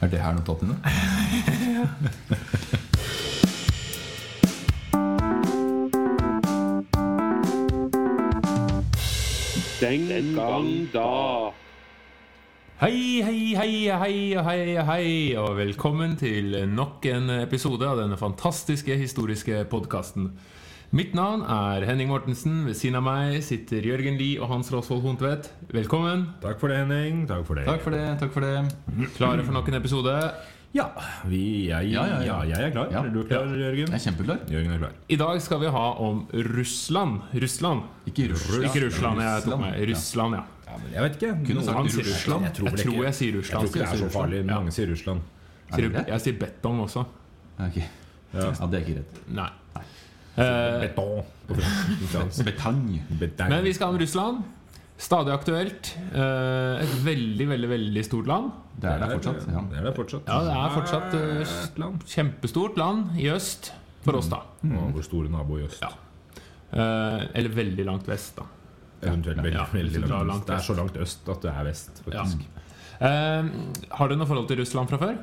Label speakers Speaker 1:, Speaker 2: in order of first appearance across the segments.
Speaker 1: Er det her notatene?
Speaker 2: Den gang da.
Speaker 3: Hei, hei, hei, hei, hei, hei, og velkommen til nok en episode av denne fantastiske historiske podkasten. Mitt navn er Henning Mortensen. Ved siden av meg sitter Jørgen Lie og Hans Rosvold Hontvedt. Velkommen.
Speaker 4: Takk for det, Henning. Takk for det.
Speaker 1: Takk for det. takk for det
Speaker 3: Klare for nok en episode.
Speaker 4: Ja, vi, jeg,
Speaker 1: Ja,
Speaker 4: ja,
Speaker 1: ja, ja.
Speaker 4: jeg er klar.
Speaker 1: Ja.
Speaker 4: Er du klar, Jørgen?
Speaker 1: Jeg er kjempeklar.
Speaker 4: Jørgen er klar.
Speaker 3: I dag skal vi ha om Russland. Russland.
Speaker 1: Ikke Russland.
Speaker 3: Ikke Russland, jeg tok meg. Russland, ja.
Speaker 4: Ja, men jeg vet ikke.
Speaker 1: Kunne sagt
Speaker 4: Noen
Speaker 3: sier
Speaker 4: sier
Speaker 3: Russland.
Speaker 4: Jeg tror, vel
Speaker 3: Jeg tror
Speaker 4: ikke.
Speaker 3: jeg sier
Speaker 4: Jeg tror
Speaker 3: Russland.
Speaker 4: ikke det er
Speaker 1: sier
Speaker 4: så farlig.
Speaker 1: Russland.
Speaker 4: Mange sier Russland.
Speaker 1: Er det det?
Speaker 3: Jeg sier Betong også.
Speaker 1: Ja, ok.
Speaker 4: Ja.
Speaker 1: Ja, det er ikke rett.
Speaker 3: Nei. Eh,
Speaker 4: Beton. på fransk.
Speaker 1: Betang.
Speaker 4: Beton.
Speaker 3: Men vi skal om Russland. Stadig aktuelt. Eh, Et veldig, veldig veldig stort land.
Speaker 1: Det er der fortsatt. Ja.
Speaker 4: Det er der fortsatt.
Speaker 3: Ja, det er fortsatt eh,
Speaker 4: Et land.
Speaker 3: kjempestort land i øst for oss, da.
Speaker 4: Og vår store nabo i øst.
Speaker 3: Ja. Eh, Eller veldig langt vest, da.
Speaker 4: Eventuelt veldig,
Speaker 3: Ja, hvis du
Speaker 4: veldig
Speaker 3: drar langt
Speaker 4: langt. øst. Det er så langt øst at det er vest,
Speaker 3: Ja.
Speaker 4: faktisk.
Speaker 3: Eh, Har du noe forhold til Russland fra før?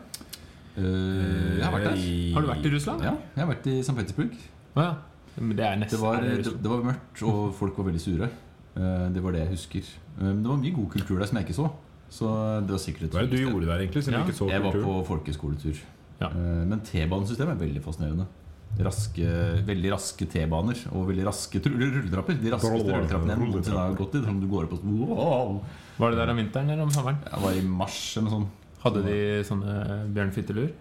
Speaker 1: Eh, jeg har vært der.
Speaker 4: I-
Speaker 3: Har du vært i Russland?
Speaker 1: Ja, jeg har vært i St. Petersburg.
Speaker 3: Å, ja. Men det er
Speaker 1: Det
Speaker 3: nesten
Speaker 1: var, eh,
Speaker 3: er det
Speaker 1: det,
Speaker 3: Russland.
Speaker 1: det var mørkt, og folk var veldig sure. Eh, Det var det jeg husker. Eh, Men det var mye god kultur der som jeg ikke så. Så det var sikkert et
Speaker 4: Hva er det du
Speaker 1: fint sted.
Speaker 4: gjorde der, egentlig? Siden
Speaker 3: Ja,
Speaker 4: vi ikke så
Speaker 1: Jeg var
Speaker 4: kulturen?
Speaker 1: på folkeskoletur.
Speaker 3: Ja.
Speaker 1: Eh, Men T-banesystemet er veldig fascinerende. Raske, veldig raske T-baner og veldig raske tru- rulletrapper. De raskeste rulletrappene jeg noensinne har gått i. Som du går opp og wow.
Speaker 3: Var det der om vinteren eller om sommeren?
Speaker 1: Jeg var i mars eller noe sånt.
Speaker 3: Hadde de sånne bjørnfittelur?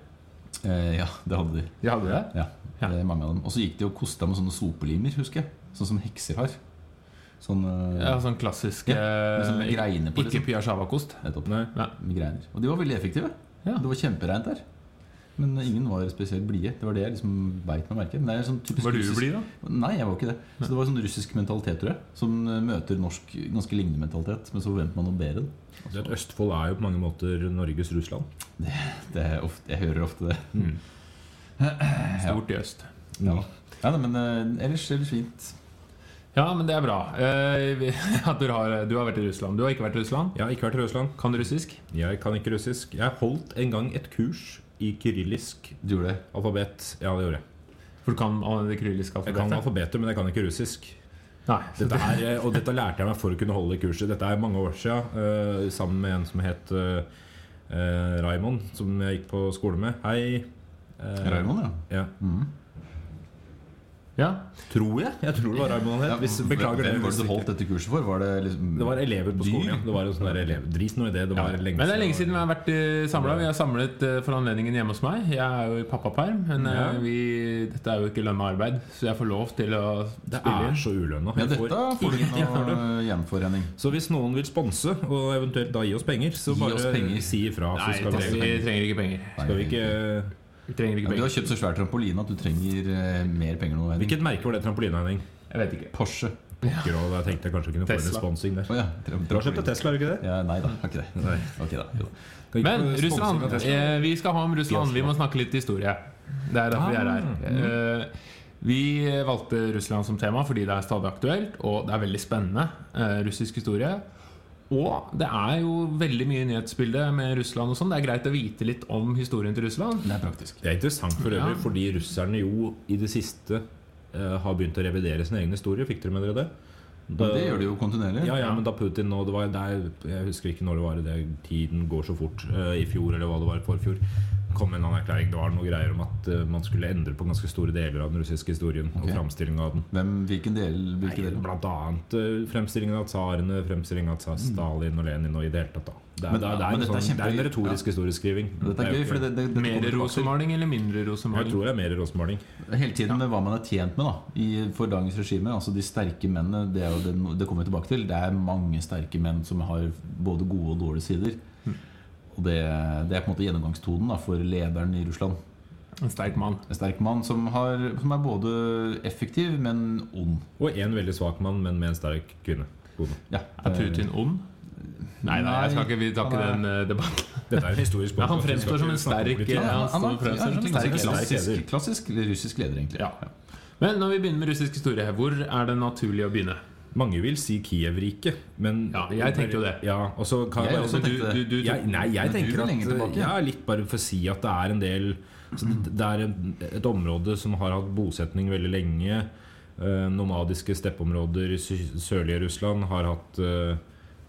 Speaker 1: Eh, Ja, det hadde de.
Speaker 3: De hadde det?
Speaker 1: Ja,
Speaker 3: Ja.
Speaker 1: det er mange av dem. Og så gikk de og kosta med sånne sopelimer, husker jeg. Sånn som hekser har. Sånn eh,
Speaker 3: Ja, sånn klassiske
Speaker 1: med sånne greiner på,
Speaker 3: Ikke
Speaker 1: liksom.
Speaker 3: pyasjava-kost.
Speaker 1: nettopp,
Speaker 4: Nei.
Speaker 1: med greiner. Og de var veldig effektive.
Speaker 3: Ja.
Speaker 1: Det var kjempereint der. Men ingen var spesielt blide. Det var det jeg liksom beit meg merke. Men det er sånn typisk
Speaker 3: Var du
Speaker 1: russisk-
Speaker 3: blid, da?
Speaker 1: Nei, jeg var ikke det. Så det var sånn russisk mentalitet, tror jeg. Som eh, møter norsk ganske lignende mentalitet, men så forventer man noe bedre.
Speaker 4: Du vet, Østfold er jo på mange måter Norges Russland.
Speaker 1: Det er ofte, jeg hører ofte det.
Speaker 3: Stort i øst.
Speaker 1: Ja. Nei, nei, men eh, ellers, ellers fint.
Speaker 3: Ja, men det er bra. Eh, vi- At du har, du har vært i Russland. Du har ikke vært i Russland.
Speaker 4: Jeg har ikke vært i Russland.
Speaker 3: Kan du russisk?
Speaker 4: Jeg kan ikke russisk. Jeg holdt en gang et kurs i kyrillisk
Speaker 1: Du gjorde det.
Speaker 4: alfabet. Ja, det gjorde jeg.
Speaker 3: For du kan ah, det kyrilliske
Speaker 4: Jeg kan
Speaker 3: alfabetet?
Speaker 4: alfabetet, men jeg kan ikke russisk.
Speaker 3: Nei. Så
Speaker 4: Dette er, eh, og dette lærte jeg meg for å kunne holde kurset. Dette er mange år siden, eh, sammen med en som het uh, Raimond, som jeg gikk på skole med. Hei. eh,
Speaker 1: Raymond, ja.
Speaker 4: Ja.
Speaker 3: ja.
Speaker 4: Tror jeg. Jeg tror det var Raimond han het. Hvis- Beklager det.
Speaker 1: Hvem var
Speaker 4: hvis
Speaker 1: det du
Speaker 4: ikke.
Speaker 1: holdt dette kurset for? Var det liksom
Speaker 4: Det var elever på skolen.
Speaker 1: Dyr?
Speaker 4: Ja. Det var en sånn der elev. Drit nå i det. Det var lenge
Speaker 3: Men det er lenge siden vi har vært samla. Vi har samlet eh, for anledningen hjemme hos meg. Jeg er jo i pappaperm, men eh,
Speaker 4: Ja.
Speaker 3: vi, dette er jo ikke lønna arbeid, så jeg får lov til å
Speaker 4: Det
Speaker 3: spille
Speaker 4: er
Speaker 3: inn.
Speaker 4: så ulønna.
Speaker 1: Ja,
Speaker 4: Jeg får
Speaker 1: dette får du ikke
Speaker 4: ingenting for det.
Speaker 1: noe igjen for, Henning.
Speaker 4: Så hvis noen vil sponse, og eventuelt da gi oss penger, så
Speaker 1: Gi oss
Speaker 4: bare
Speaker 1: penger.
Speaker 4: si ifra.
Speaker 3: Nei,
Speaker 4: Så
Speaker 3: vi
Speaker 4: skal
Speaker 3: trenger,
Speaker 4: vi,
Speaker 3: vi trenger ikke penger.
Speaker 4: skal vi ikke
Speaker 3: Vi trenger ikke
Speaker 1: Du har
Speaker 3: penger.
Speaker 1: kjøpt så svær trampoline at du trenger eh, mer penger nå, Henning.
Speaker 4: Hvilket merke var det trampolina, Henning?
Speaker 3: Jeg vet ikke.
Speaker 1: Porsche.
Speaker 4: Grå, Jeg tenkte jeg kanskje kunne få en
Speaker 3: Tesla.
Speaker 4: responsing der.
Speaker 1: Å ja.
Speaker 4: Du har kjøpt deg Tesla, er du ikke det?
Speaker 1: Ja, nei da, har ikke det.
Speaker 4: Nei.
Speaker 1: Ok da, jo da.
Speaker 4: Kan ikke
Speaker 3: Men
Speaker 4: få sponsing
Speaker 3: Russland.
Speaker 4: av Tesla.
Speaker 3: Eh, vi skal ha om Russland. Vi må snakke litt historie. Det er derfor vi er her. Eh, vi valgte Russland som tema fordi det er stadig aktuelt, og det er veldig spennende. Eh, russisk historie. Og det er jo veldig mye nyhetsbilde med Russland og sånn. Det er greit å vite litt om historien til Russland.
Speaker 1: Det er praktisk.
Speaker 4: Det er interessant for
Speaker 3: Ja.
Speaker 4: øvrig, fordi russerne jo i det siste eh, har begynt å revidere sin egen historie. Fikk dere med dere det?
Speaker 1: Men det gjør du jo kontinuerlig.
Speaker 4: Ja, ja, men da Putin nå det var, det er, Jeg husker ikke når det var. Det, tiden går så fort. eh, I fjor eller hva det var, forfjor. kom en annen erklæring. Det var noe greier om at eh, man skulle endre på ganske store deler av den russiske historien.
Speaker 1: Ok.
Speaker 4: Og framstillingen av den.
Speaker 1: Hvem, hvilken del, hvilke
Speaker 4: Nei,
Speaker 1: deler?
Speaker 4: Blant annet eh, fremstillingen av tsarene, fremstillingen av tsar Stalin og Lenin og i det hele tatt. da Det er,
Speaker 1: Men-
Speaker 4: det er, det
Speaker 1: men
Speaker 4: er, en,
Speaker 1: dette er
Speaker 4: sånn, det er
Speaker 1: kjempegøy.
Speaker 4: en retorisk historieskriving.
Speaker 1: Dette er gøy,
Speaker 4: jo ikke-
Speaker 1: for det, det, det
Speaker 3: Mer
Speaker 1: kommer tilbake til.
Speaker 3: rosemaling eller mindre
Speaker 4: Jeg
Speaker 3: rosemaling?
Speaker 4: tror det er mer rosemaling.
Speaker 1: Hele tiden med hva man er tjent med da i, for dagens regime. Altså De sterke mennene, det, er jo det, det kommer vi tilbake til. Det er mange sterke menn som har både gode og dårlige sider.
Speaker 3: Mm.
Speaker 1: Og det, det er på en måte gjennomgangstonen da for lederen i Russland.
Speaker 3: En sterk mann.
Speaker 1: En sterk mann som, har, som er både effektiv, men ond.
Speaker 4: Og en veldig svak mann, men med en sterk kvinne. Kone.
Speaker 1: Ja,
Speaker 3: Er Putin ond? Nei, nei, jeg skal ikke, vi tar ikke
Speaker 1: Eh, Nei.
Speaker 3: den eh, debatten.
Speaker 4: Dette er en historisk
Speaker 3: Men han
Speaker 4: podcast, vi skal
Speaker 3: fremstår som
Speaker 4: ikke
Speaker 3: en
Speaker 4: snakke om
Speaker 3: sterk,
Speaker 4: politikk.
Speaker 3: eh,
Speaker 1: han, han,
Speaker 3: står
Speaker 1: er-
Speaker 3: for en
Speaker 1: ja, en
Speaker 3: sånn
Speaker 1: sterk,
Speaker 3: ganske
Speaker 4: sterk
Speaker 1: klassisk,
Speaker 4: leder.
Speaker 1: klassisk russisk leder, egentlig.
Speaker 3: Ja. Men når vi begynner med russisk historie, hvor er det naturlig å begynne?
Speaker 4: Mange vil si Kiev-riket, men
Speaker 3: Ja, jeg tenker jo det.
Speaker 4: Ja, og så kan
Speaker 1: Jeg
Speaker 4: bare-
Speaker 1: også
Speaker 4: men
Speaker 1: tenkte
Speaker 4: du,
Speaker 1: det.
Speaker 4: du, du, jeg, Nei, jeg
Speaker 1: Men du
Speaker 4: tenker
Speaker 1: vil lenger
Speaker 4: at
Speaker 1: tilbake.
Speaker 4: Ja, litt bare for å si at det er en del så Det det er en- et område som har hatt bosetning veldig lenge. Eh, nomadiske steppeområder i sy- sørlige Russland har hatt eh,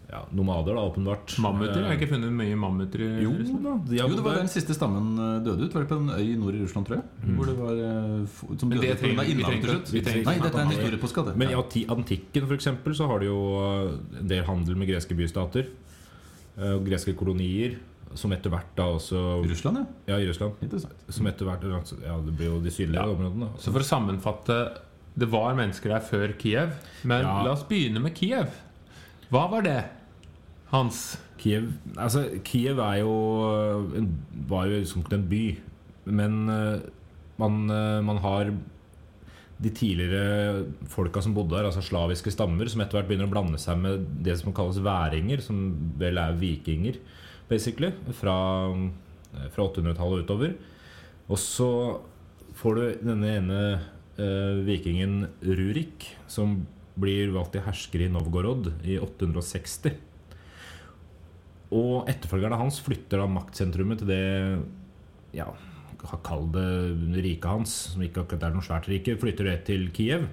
Speaker 4: ja, nomader, da, åpenbart.
Speaker 3: Mammuter? Jeg har
Speaker 4: Eh,
Speaker 3: ikke funnet mye mammuter i
Speaker 4: Jo
Speaker 3: Russland.
Speaker 4: da. De har
Speaker 1: Jo, det var
Speaker 4: bodd der.
Speaker 1: den siste stammen eh, døde ut. Var det på en øy nord i Russland, tror jeg? Hvor det var eh, f-
Speaker 3: Mm.
Speaker 1: Som
Speaker 3: Men
Speaker 1: døde
Speaker 3: det
Speaker 1: ut på grunn
Speaker 3: trenger-
Speaker 1: av
Speaker 3: vi
Speaker 1: innavl,
Speaker 3: trenger
Speaker 1: til
Speaker 3: ikke-
Speaker 1: slutt.
Speaker 3: vi trenger
Speaker 1: Nei,
Speaker 3: ikke
Speaker 1: dette er en
Speaker 3: snakke om
Speaker 1: historie på skade.
Speaker 4: Men i anti antikken for eksempel, så har de jo eh, en del handel med greske bystater. eh, Og greske kolonier. Som etter hvert da også
Speaker 1: Russland, ja.
Speaker 4: Ja, i Russland.
Speaker 1: Interessant.
Speaker 4: Som etter hvert Ja, det blir jo de sydlige
Speaker 3: Ja.
Speaker 4: områdene. da.
Speaker 3: Så for å sammenfatte Det var mennesker der før Kiev, men
Speaker 4: Ja.
Speaker 3: la oss begynne med Kiev. Hva var det, Hans?
Speaker 4: Kiev Altså, Kiev er jo eh, en, var jo liksom ikke en by. Men eh, man, eh, man har de tidligere folka som bodde der, altså slaviske stammer, som etter hvert begynner å blande seg med det som kalles væringer, som vel er vikinger, basically, fra, eh, fra 800-tallet og utover. Og så får du denne ene eh, vikingen Rurik, som blir valgt til hersker i Novgorod i 860. Og etterfølgerne hans flytter da maktsentrumet til det Ja, kall det riket hans, som ikke akkurat er noe svært rike, flytter det til Kiev.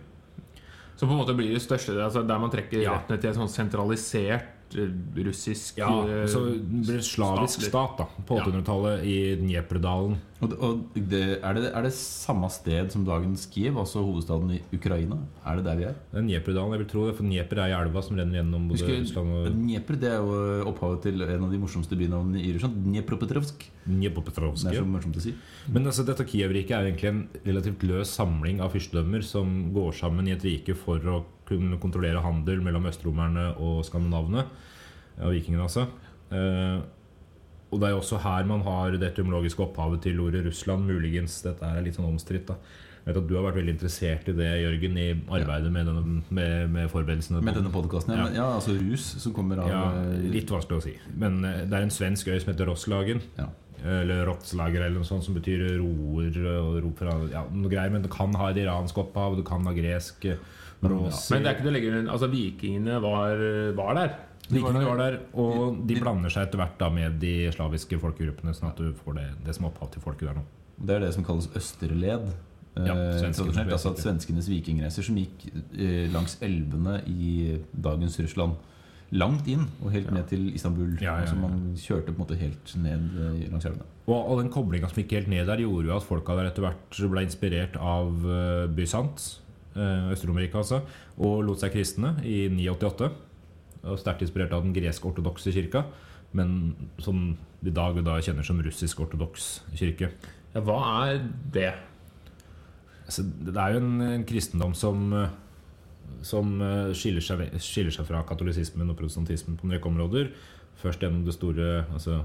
Speaker 3: Som på en måte blir det største altså Der man trekker
Speaker 4: Ja.
Speaker 3: rettene til et sånn sentralisert eh, russisk
Speaker 4: Ja,
Speaker 3: eh,
Speaker 4: Så blir det slavisk
Speaker 3: statlig.
Speaker 4: stat da på
Speaker 3: Ja.
Speaker 4: 800-tallet i Dneprdalen.
Speaker 1: Og, det- og det, er, det, er det samme sted som dagens Kiev, altså hovedstaden i Ukraina? Er det der vi er?
Speaker 4: Det er Dneprdalen, jeg vil tro det, for Dnepr er elva som renner gjennom både Russland
Speaker 1: Husker,
Speaker 4: og
Speaker 1: Dnepr det er jo eh, opphavet til en av de morsomste bynavnene i Russland. Dnepropetrovsk. Det er
Speaker 4: Dnepropetrovskij.
Speaker 1: så morsomt å si.
Speaker 4: Men altså, dette Kiev-riket er egentlig en relativt løs samling av fyrstedømmer som går sammen i et rike for å kunne kontrollere handel mellom østromerne og skandinavene. Og vikingene, altså. Eh, og det er jo også her man har det etymologiske opphavet til ordet Russland. Muligens dette er litt sånn omstridt. da. Jeg vet at Du har vært veldig interessert i det, Jørgen, i arbeidet med, denne, med, med forberedelsene.
Speaker 1: Med denne podkasten, ja.
Speaker 4: Ja.
Speaker 1: Men, ja. Altså rus som kommer av
Speaker 4: ja,
Speaker 1: eh,
Speaker 4: Litt vanskelig å si. Men eh, det er en svensk øy som heter Rosslagen.
Speaker 1: ja.
Speaker 4: Eller rottslager eller noe sånt som betyr roer og rop fra ja, noe greier. Men du kan ha et iransk opphav, du kan ha gresk eh, ros.
Speaker 3: Men det er ikke til å legge under Altså, vikingene var, var der.
Speaker 4: Vikingene var der, og de blander seg etter hvert da med de slaviske folkegruppene. Sånn at du får det, det som er opphav til folket der nå.
Speaker 1: Det er det som kalles østerled. eh,
Speaker 4: Ja, svenskene.
Speaker 1: tradisjonelt, altså at Svenskenes vikingreiser som gikk eh, langs elvene i dagens Russland. Langt inn og helt ned til Istanbul.
Speaker 4: Ja, ja,
Speaker 1: Altså
Speaker 4: ja.
Speaker 1: Man kjørte på en måte helt ned eh, langs elvene.
Speaker 4: Og, og den koblinga som gikk helt ned der, gjorde jo at folka der etter hvert ble inspirert av eh, Bysant, eh, Øst-Romerike altså, og lot seg kristne i 988. Og sterkt inspirert av den gresk-ortodokse kirka, men som i dag da kjenner som russisk-ortodoks kirke.
Speaker 3: Ja, hva er det?
Speaker 4: Altså, det er jo en, en kristendom som eh, som eh, skiller seg, ve- skiller seg fra katolisismen og protestantismen på en rekke områder. Først gjennom det store altså,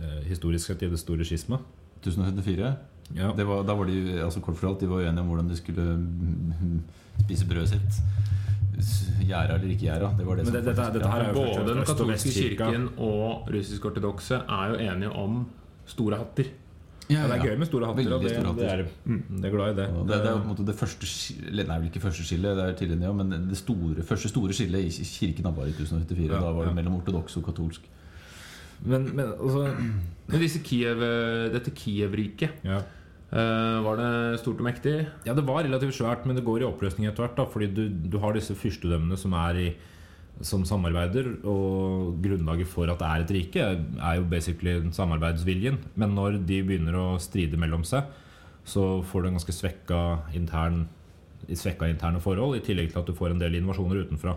Speaker 4: eh, historisk sett i det store skisma.
Speaker 1: 1074.
Speaker 4: Ja.
Speaker 1: Det var, da var de altså kort for alt, de var uenige om hvordan de skulle mm, spise brødet sitt. S- Gjæra eller ikke gjæra. Det var det
Speaker 4: Men
Speaker 1: som
Speaker 4: det- dette- dette her er jo først
Speaker 3: Både
Speaker 4: og
Speaker 3: den
Speaker 4: fremst øst- og
Speaker 3: katolske
Speaker 4: vestkirka.
Speaker 3: kirken og russisk-ortodokse er jo enige om store hatter.
Speaker 1: ja,
Speaker 4: Ja, det er gøy med store hatter.
Speaker 1: Veldig
Speaker 4: og Det,
Speaker 1: store hatter.
Speaker 4: det er, mm, det er glad i det.
Speaker 1: Og Det, det er jo på en måte det første skillet Nei, vel ikke første skillet, det er tidligere, ja, men det store, første store skillet i kirken var i 1074.
Speaker 4: Ja,
Speaker 1: da var det
Speaker 4: ja.
Speaker 1: mellom ortodoks og katolsk.
Speaker 4: Men, men altså
Speaker 3: Men disse Kiev, dette Kiev-riket
Speaker 4: ja.
Speaker 3: eh, var det stort og mektig?
Speaker 4: ja, det var relativt svært, men det går i oppløsning etter hvert. da Fordi du, du har disse fyrstedømmene som er i som samarbeider, og grunnlaget for at det er et rike, er jo basically samarbeidsviljen. Men når de begynner å stride mellom seg, så får du en ganske svekka intern svekka interne forhold, i tillegg til at du får en del invasjoner utenfra.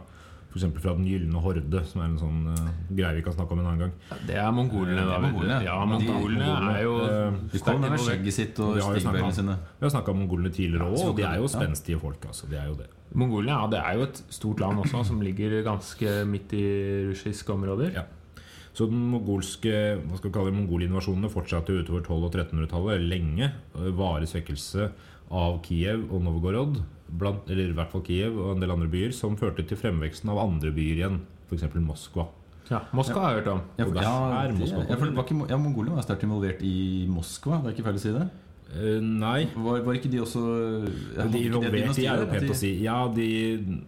Speaker 4: F.eks. fra Den gylne horde, som er en sånn eh, greie vi kan snakke om en annen gang.
Speaker 3: Det er Eh, mongolene,
Speaker 1: Eh, Det
Speaker 3: da.
Speaker 1: er
Speaker 3: vet du.
Speaker 1: mongolene.
Speaker 3: Ja,
Speaker 1: Men de-
Speaker 3: mongolene
Speaker 4: mongolene,
Speaker 3: er jo
Speaker 4: eh,
Speaker 1: De
Speaker 3: sterkt
Speaker 1: kom med
Speaker 3: involvert.
Speaker 1: skjegget sitt og
Speaker 4: Vi har jo snakket om-
Speaker 1: stigbøylene sine.
Speaker 4: Vi har snakka om mongolene tidligere òg, og de er jo
Speaker 1: selvfølgelig.
Speaker 4: spenstige folk. altså, de er jo det
Speaker 3: Mongolia ja, det er jo et stort land også, som ligger ganske midt i russiske områder.
Speaker 4: Ja. Så den mongolske, hva skal vi kalle det, mongolinvasjonene fortsatte jo utover 1200- og 1300-tallet lenge. eh, Varig svekkelse av Kiev og Novgorod, blant, eller i hvert fall Kiev og en del andre byer, som førte til fremveksten av andre byer igjen, f.eks. Moskva.
Speaker 3: Ja, Moskva har jeg hørt om.
Speaker 1: Ja, for,
Speaker 4: det
Speaker 1: ja,
Speaker 4: er
Speaker 1: det-
Speaker 4: Moskva.
Speaker 1: ja, for det var ikke, Mo- ja, Mongolia var sterkt involvert i Moskva, det er ikke feil å si det?
Speaker 4: Eh, nei
Speaker 1: Var, var ikke de også
Speaker 4: De
Speaker 5: eh,
Speaker 1: hadde ikke
Speaker 4: involverte
Speaker 1: dynastier,
Speaker 4: i
Speaker 1: at
Speaker 4: europent
Speaker 1: de-
Speaker 4: å si. Ja, de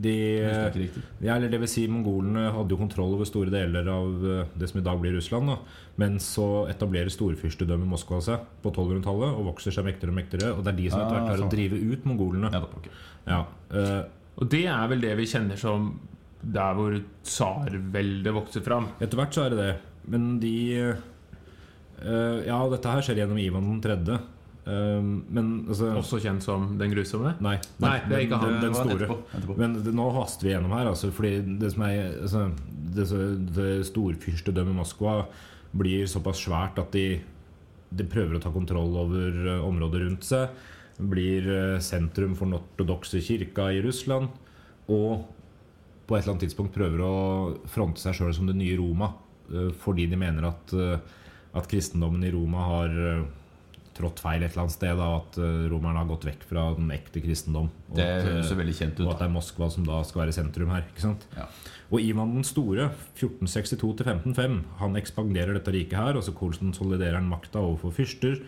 Speaker 4: De,
Speaker 5: Husker ikke riktig.
Speaker 4: ja, eller det vil si, mongolene hadde jo kontroll over store deler av eh, det som i dag blir Russland. Da. Men så etablerer storfyrstedømmet Moskva seg på 1200-tallet og vokser seg mektigere og mektigere. Og det er de som etter hvert
Speaker 5: Ah,
Speaker 4: klarer
Speaker 5: sånn.
Speaker 4: å drive ut mongolene.
Speaker 5: Ja, da, ok.
Speaker 4: Ja. eh,
Speaker 1: Og det er vel det vi kjenner som der hvor tsarveldet vokser fram.
Speaker 4: Etter hvert så er det det. Men de eh, Ja, dette her skjer gjennom Ivan den tredje. Eh, men altså
Speaker 1: Også kjent som den grusomme.
Speaker 4: Nei,
Speaker 1: Nei, det er ikke han.
Speaker 4: den,
Speaker 5: Det
Speaker 4: den
Speaker 5: var
Speaker 4: store.
Speaker 5: etterpå, etterpå.
Speaker 4: Men det, nå haster vi gjennom her, altså, fordi det som er altså, det, så- det storfyrstedømmet Moskva blir såpass svært at de, de prøver å ta kontroll over eh, området rundt seg. Blir eh, sentrum for den ortodokse kirka i Russland. Og på et eller annet tidspunkt prøver å fronte seg sjøl som det nye Roma. eh, Fordi de mener at, eh, at kristendommen i Roma har eh, trådt feil et eller annet sted. Da, og at eh, romerne har gått vekk fra den ekte kristendom. Og
Speaker 5: Det
Speaker 4: at, eh,
Speaker 5: høres jo veldig kjent
Speaker 4: og at
Speaker 5: ut.
Speaker 4: det er Moskva som da skal være sentrum her. ikke sant?
Speaker 5: Ja.
Speaker 4: Og Ivan den store, 1462-1505, han ekspanderer dette riket her. Og så konsoliderer han makta overfor fyrster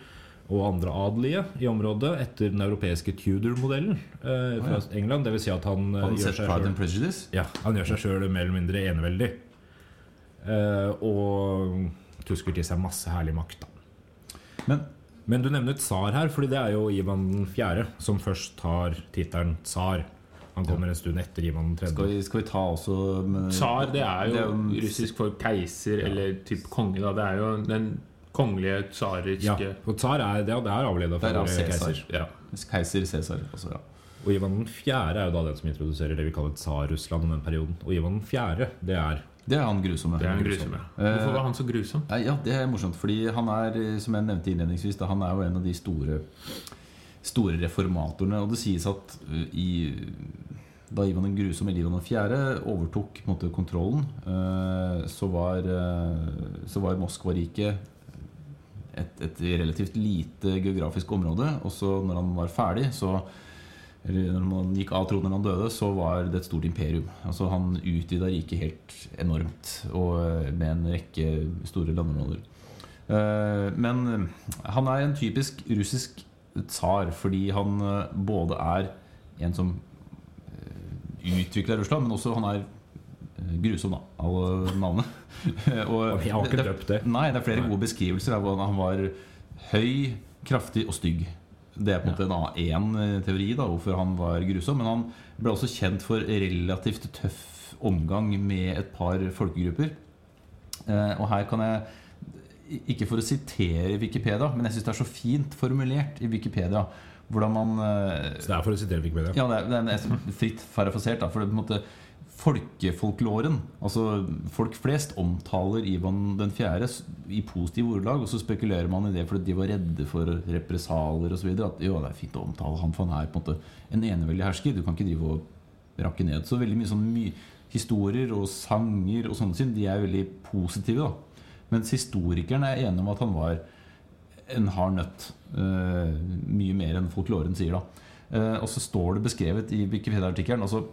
Speaker 4: og andre adelige i området etter den europeiske Tudor-modellen eh, fra England. Det vil si at han, eh,
Speaker 5: Har du
Speaker 4: gjør
Speaker 5: sett
Speaker 4: seg
Speaker 5: Pride
Speaker 4: selv-
Speaker 5: and Prejudice?
Speaker 4: ja, han gjør seg sjøl mer eller mindre eneveldig. Eh, og tusker til seg masse herlig makt, da.
Speaker 5: Men
Speaker 4: Men du nevner tsar her, fordi det er jo Ivan 4. som først tar tittelen tsar. Han kommer en stund etter Ivan 3.
Speaker 5: skal vi, skal vi ta også med-
Speaker 1: Tsar det er jo
Speaker 5: Det er jo-
Speaker 1: russisk for keiser eller typ konge. da Det er jo den kongelige tsariske
Speaker 4: Ja, og tsar er, ja, det er avleda
Speaker 5: Der
Speaker 4: fra
Speaker 5: er
Speaker 4: vår
Speaker 5: Cæsar.
Speaker 4: keiser.
Speaker 5: Ja. Keiser Cæsar. Også, ja.
Speaker 4: Og Ivan 4. er jo da den som introduserer det vi kaller tsar-Russland i den perioden. Og Ivan 4. det er
Speaker 5: Det er han grusomme.
Speaker 1: Det er en grusomme.
Speaker 5: Eh,
Speaker 1: Hvorfor var han så grusom?
Speaker 5: Nei, ja, det er morsomt, fordi han er, eh, som jeg nevnte innledningsvis, da, han er jo en av de store, store reformatorene. Og det sies at eh, i, da Ivan den grusomme eller Ivan den fjerde overtok på en måte, kontrollen, eh, så var, eh, så var Moskva-riket et, et relativt lite geografisk område. Og så når han var ferdig, så eller når han gikk av tronen når han døde, så var det et stort imperium. Altså Han utvida riket helt enormt, og eh, med en rekke store landområder. Eh, Men han er en typisk russisk tsar, fordi han eh, både er en som utvikla Russland, men også han er eh, grusom, da, av navnet. og,
Speaker 4: Jeg har ikke
Speaker 5: er-
Speaker 4: døpt det.
Speaker 5: Nei, det er flere gode beskrivelser av hvordan han var høy, kraftig og stygg. Det er på en måte en annen en, eh, teori da, hvorfor han var grusom. Men han ble også kjent for relativt tøff omgang med et par folkegrupper. Eh, og her kan jeg ikke for å sitere Wikipedia, men jeg syns det er så fint formulert i Wikipedia hvordan man eh,
Speaker 4: Så det er for å sitere Wikipedia.
Speaker 5: ja, det er, det er nesten fritt parafrasert. Da, for det er på en måte Folkefolkloren, altså folk flest, omtaler Ivan den fjerde s- i positive ordelag. Og så spekulerer man i det fordi de var redde for represalier osv. At jo, det er fint å omtale han, for han er på en måte en eneveldig hersker. Du kan ikke drive og rakke ned. Så veldig mye sånn my historier og sanger og sånne ting, de er veldig positive. da Mens historikerne er enige om at han var en hard nøtt. eh, mye mer enn folkloren sier, da. Eh, og så står det beskrevet i Wikipedia-artikkelen altså,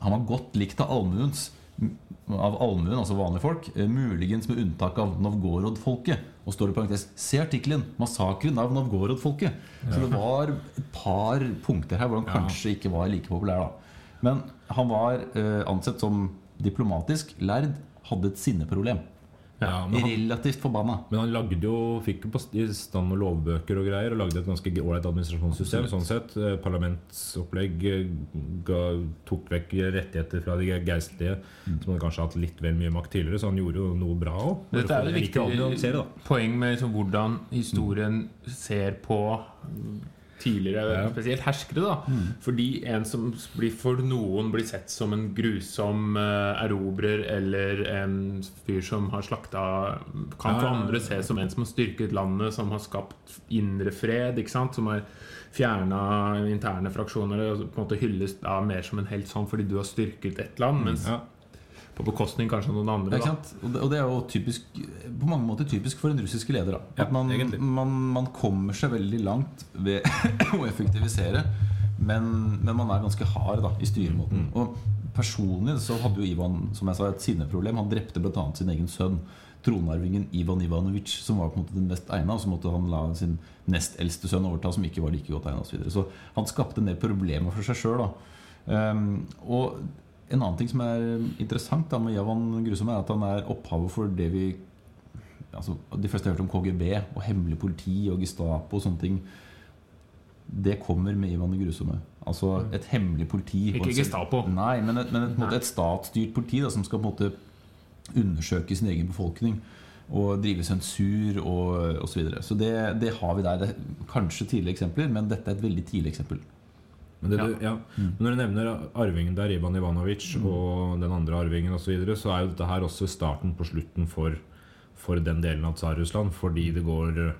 Speaker 5: Han var godt likt av allmuens m- av allmuen, altså vanlige folk, eh, muligens med unntak av Novgorod-folket. Og står det i parentes Se artikkelen 'Massakren av Novgorod-folket'. Så det var et par punkter her hvor han kanskje ikke var like populær, da. Men han var eh, ansett som diplomatisk, lærd, hadde et sinneproblem.
Speaker 4: Ja, men, han,
Speaker 5: Relativt forbanna.
Speaker 4: men han lagde jo, fikk jo på st- i stand noen lovbøker og greier, og lagde et ganske ålreit administrasjonssystem. sånn sett. Eh, Parlamentsopplegg eh, ga, tok vekk rettigheter fra de ge- geistlige, som hadde kanskje hatt litt vel mye makt tidligere, så han gjorde jo noe bra òg.
Speaker 1: Mm. Dette er et viktig poeng med liksom hvordan historien ser på tidligere,
Speaker 4: Ja.
Speaker 1: eh, spesielt herskere. da Fordi en som blir for noen blir sett som en grusom eh, erobrer eller en fyr som har slakta Kan for
Speaker 4: Ja, ja, ja.
Speaker 1: andre ses som en som har styrket landet, som har skapt indre fred, ikke sant? som har fjerna interne fraksjoner og på en måte hylles da mer som en helt sånn fordi du har styrket ett land, mens
Speaker 4: Ja.
Speaker 1: på bekostning kanskje av noen andre. da.
Speaker 5: Ja, ikke sant? Og, det, og det er jo typisk, på mange måter typisk for en russiske leder. Da.
Speaker 4: Ja,
Speaker 5: At man,
Speaker 4: egentlig.
Speaker 5: man, man kommer seg veldig langt ved å effektivisere, men, men man er ganske hard da, i styremåten. Og personlig så hadde jo Ivan som jeg sa, et sinneproblem. Han drepte bl.a. sin egen sønn. Tronarvingen Ivan Ivanovic, som var på en måte den best egna. Og så måtte han la sin nest eldste sønn overta, som ikke var like godt egna. Så, videre. så han skapte en del problemer for seg sjøl. Um, og en annen ting som er interessant da, med Javan Grusom, er at han er opphavet for det vi altså, De fleste har hørt om KGB og hemmelig politi og Gestapo og sånne ting. Det kommer med Ivan den grusomme. Altså et hemmelig politi.
Speaker 1: Ikke
Speaker 5: og en-
Speaker 1: Gestapo.
Speaker 5: Nei, men et, men et, på en måte, et statsstyrt politi da, som skal på en måte undersøke sin egen befolkning. Og drive sensur og osv. Så, videre. så det, det har vi der. Det, er kanskje tidlige eksempler, men dette er et veldig tidlig eksempel.
Speaker 4: Men det du, ja.
Speaker 5: Mm.
Speaker 4: Men når du nevner arvingen der, Ivan Ivanovic og den andre arvingen osv., så, videre, så er jo dette her også starten på slutten for, for den delen av Tsar-Russland. Fordi det går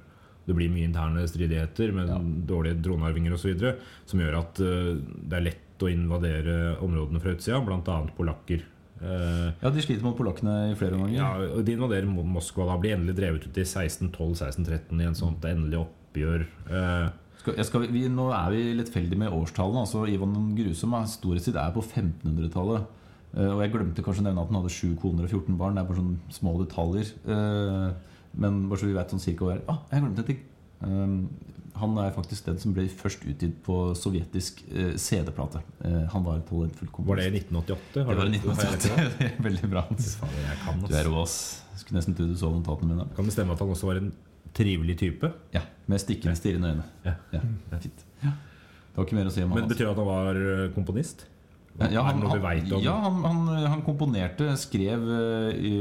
Speaker 4: Det blir mye interne stridigheter med dårlige dronearvinger osv. Som gjør at eh, det er lett å invadere områdene fra utsida, bl.a. polakker. Eh,
Speaker 5: Ja, De sliter mot polakkene i flere omganger.
Speaker 4: ja, og de invaderer Mo- Moskva da blir endelig drevet ut i 1612-1613 i en sånt endelig oppgjør. Eh,
Speaker 5: Skal, jeg skal, vi, nå er vi lettfeldige med årstallene. Altså, Ivan den grusomme storhetstid er på 1500-tallet. Eh, og jeg glemte kanskje å nevne at han hadde sju koner og 14 barn. Det er bare sånne små detaljer. Eh, men bare så vi vet sånn cirka hva det er. Ah, jeg glemte en ting! Eh, han er faktisk den som ble først utgitt på sovjetisk eh, CD-plate. Eh, han var en talentfull komponist.
Speaker 4: var det i 1988?
Speaker 5: Det
Speaker 4: Har
Speaker 5: var i
Speaker 4: du- har jeg rett i det?
Speaker 5: 1988. Det er Veldig bra. Hans.
Speaker 4: Fader, jeg kan,
Speaker 5: Du
Speaker 4: ass.
Speaker 5: er rå, ass. Skulle nesten tro du så notatene mine.
Speaker 4: Kan det stemme at han også var en trivelig type?
Speaker 5: Ja, Med stikkende, stirrende øyne.
Speaker 4: Ja.
Speaker 5: Ja, fint. Ja. Det var ikke mer å si om han.
Speaker 4: Men
Speaker 5: altså.
Speaker 4: Betyr det at han var eh, komponist?
Speaker 5: Ja,
Speaker 4: Er
Speaker 5: han,
Speaker 4: det noe vi vet
Speaker 5: han,
Speaker 4: om?
Speaker 5: ja han, han, han komponerte, skrev eh, i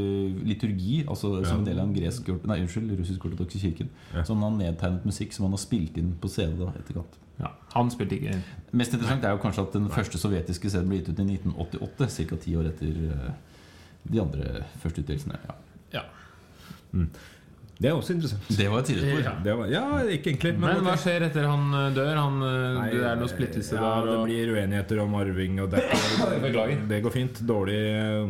Speaker 5: liturgi, altså som en del av den gresk, nei, unnskyld, russisk-ortodokse kirken.
Speaker 4: Ja.
Speaker 5: Som han nedtegnet musikk som han har spilt inn på CD da, etterkant.
Speaker 1: Ja, han spilte ikke inn.
Speaker 5: Mest interessant er jo kanskje at den første sovjetiske CD-en ble gitt ut i 1988, ca. ti år etter eh, de andre første utgivelsene. Ja.
Speaker 1: Ja.
Speaker 4: Det er også interessant.
Speaker 5: Det var et sidespor.
Speaker 1: Ja.
Speaker 4: Det var, ja, ikke egentlig. Men,
Speaker 1: Men hva skjer etter han eh, dør? Han, eh,
Speaker 4: Nei,
Speaker 1: det er noe splittelse
Speaker 4: ja,
Speaker 1: der.
Speaker 4: Det
Speaker 1: Og...
Speaker 4: blir uenigheter om arving og det.
Speaker 1: Beklager.
Speaker 4: Det går fint. Dårlig,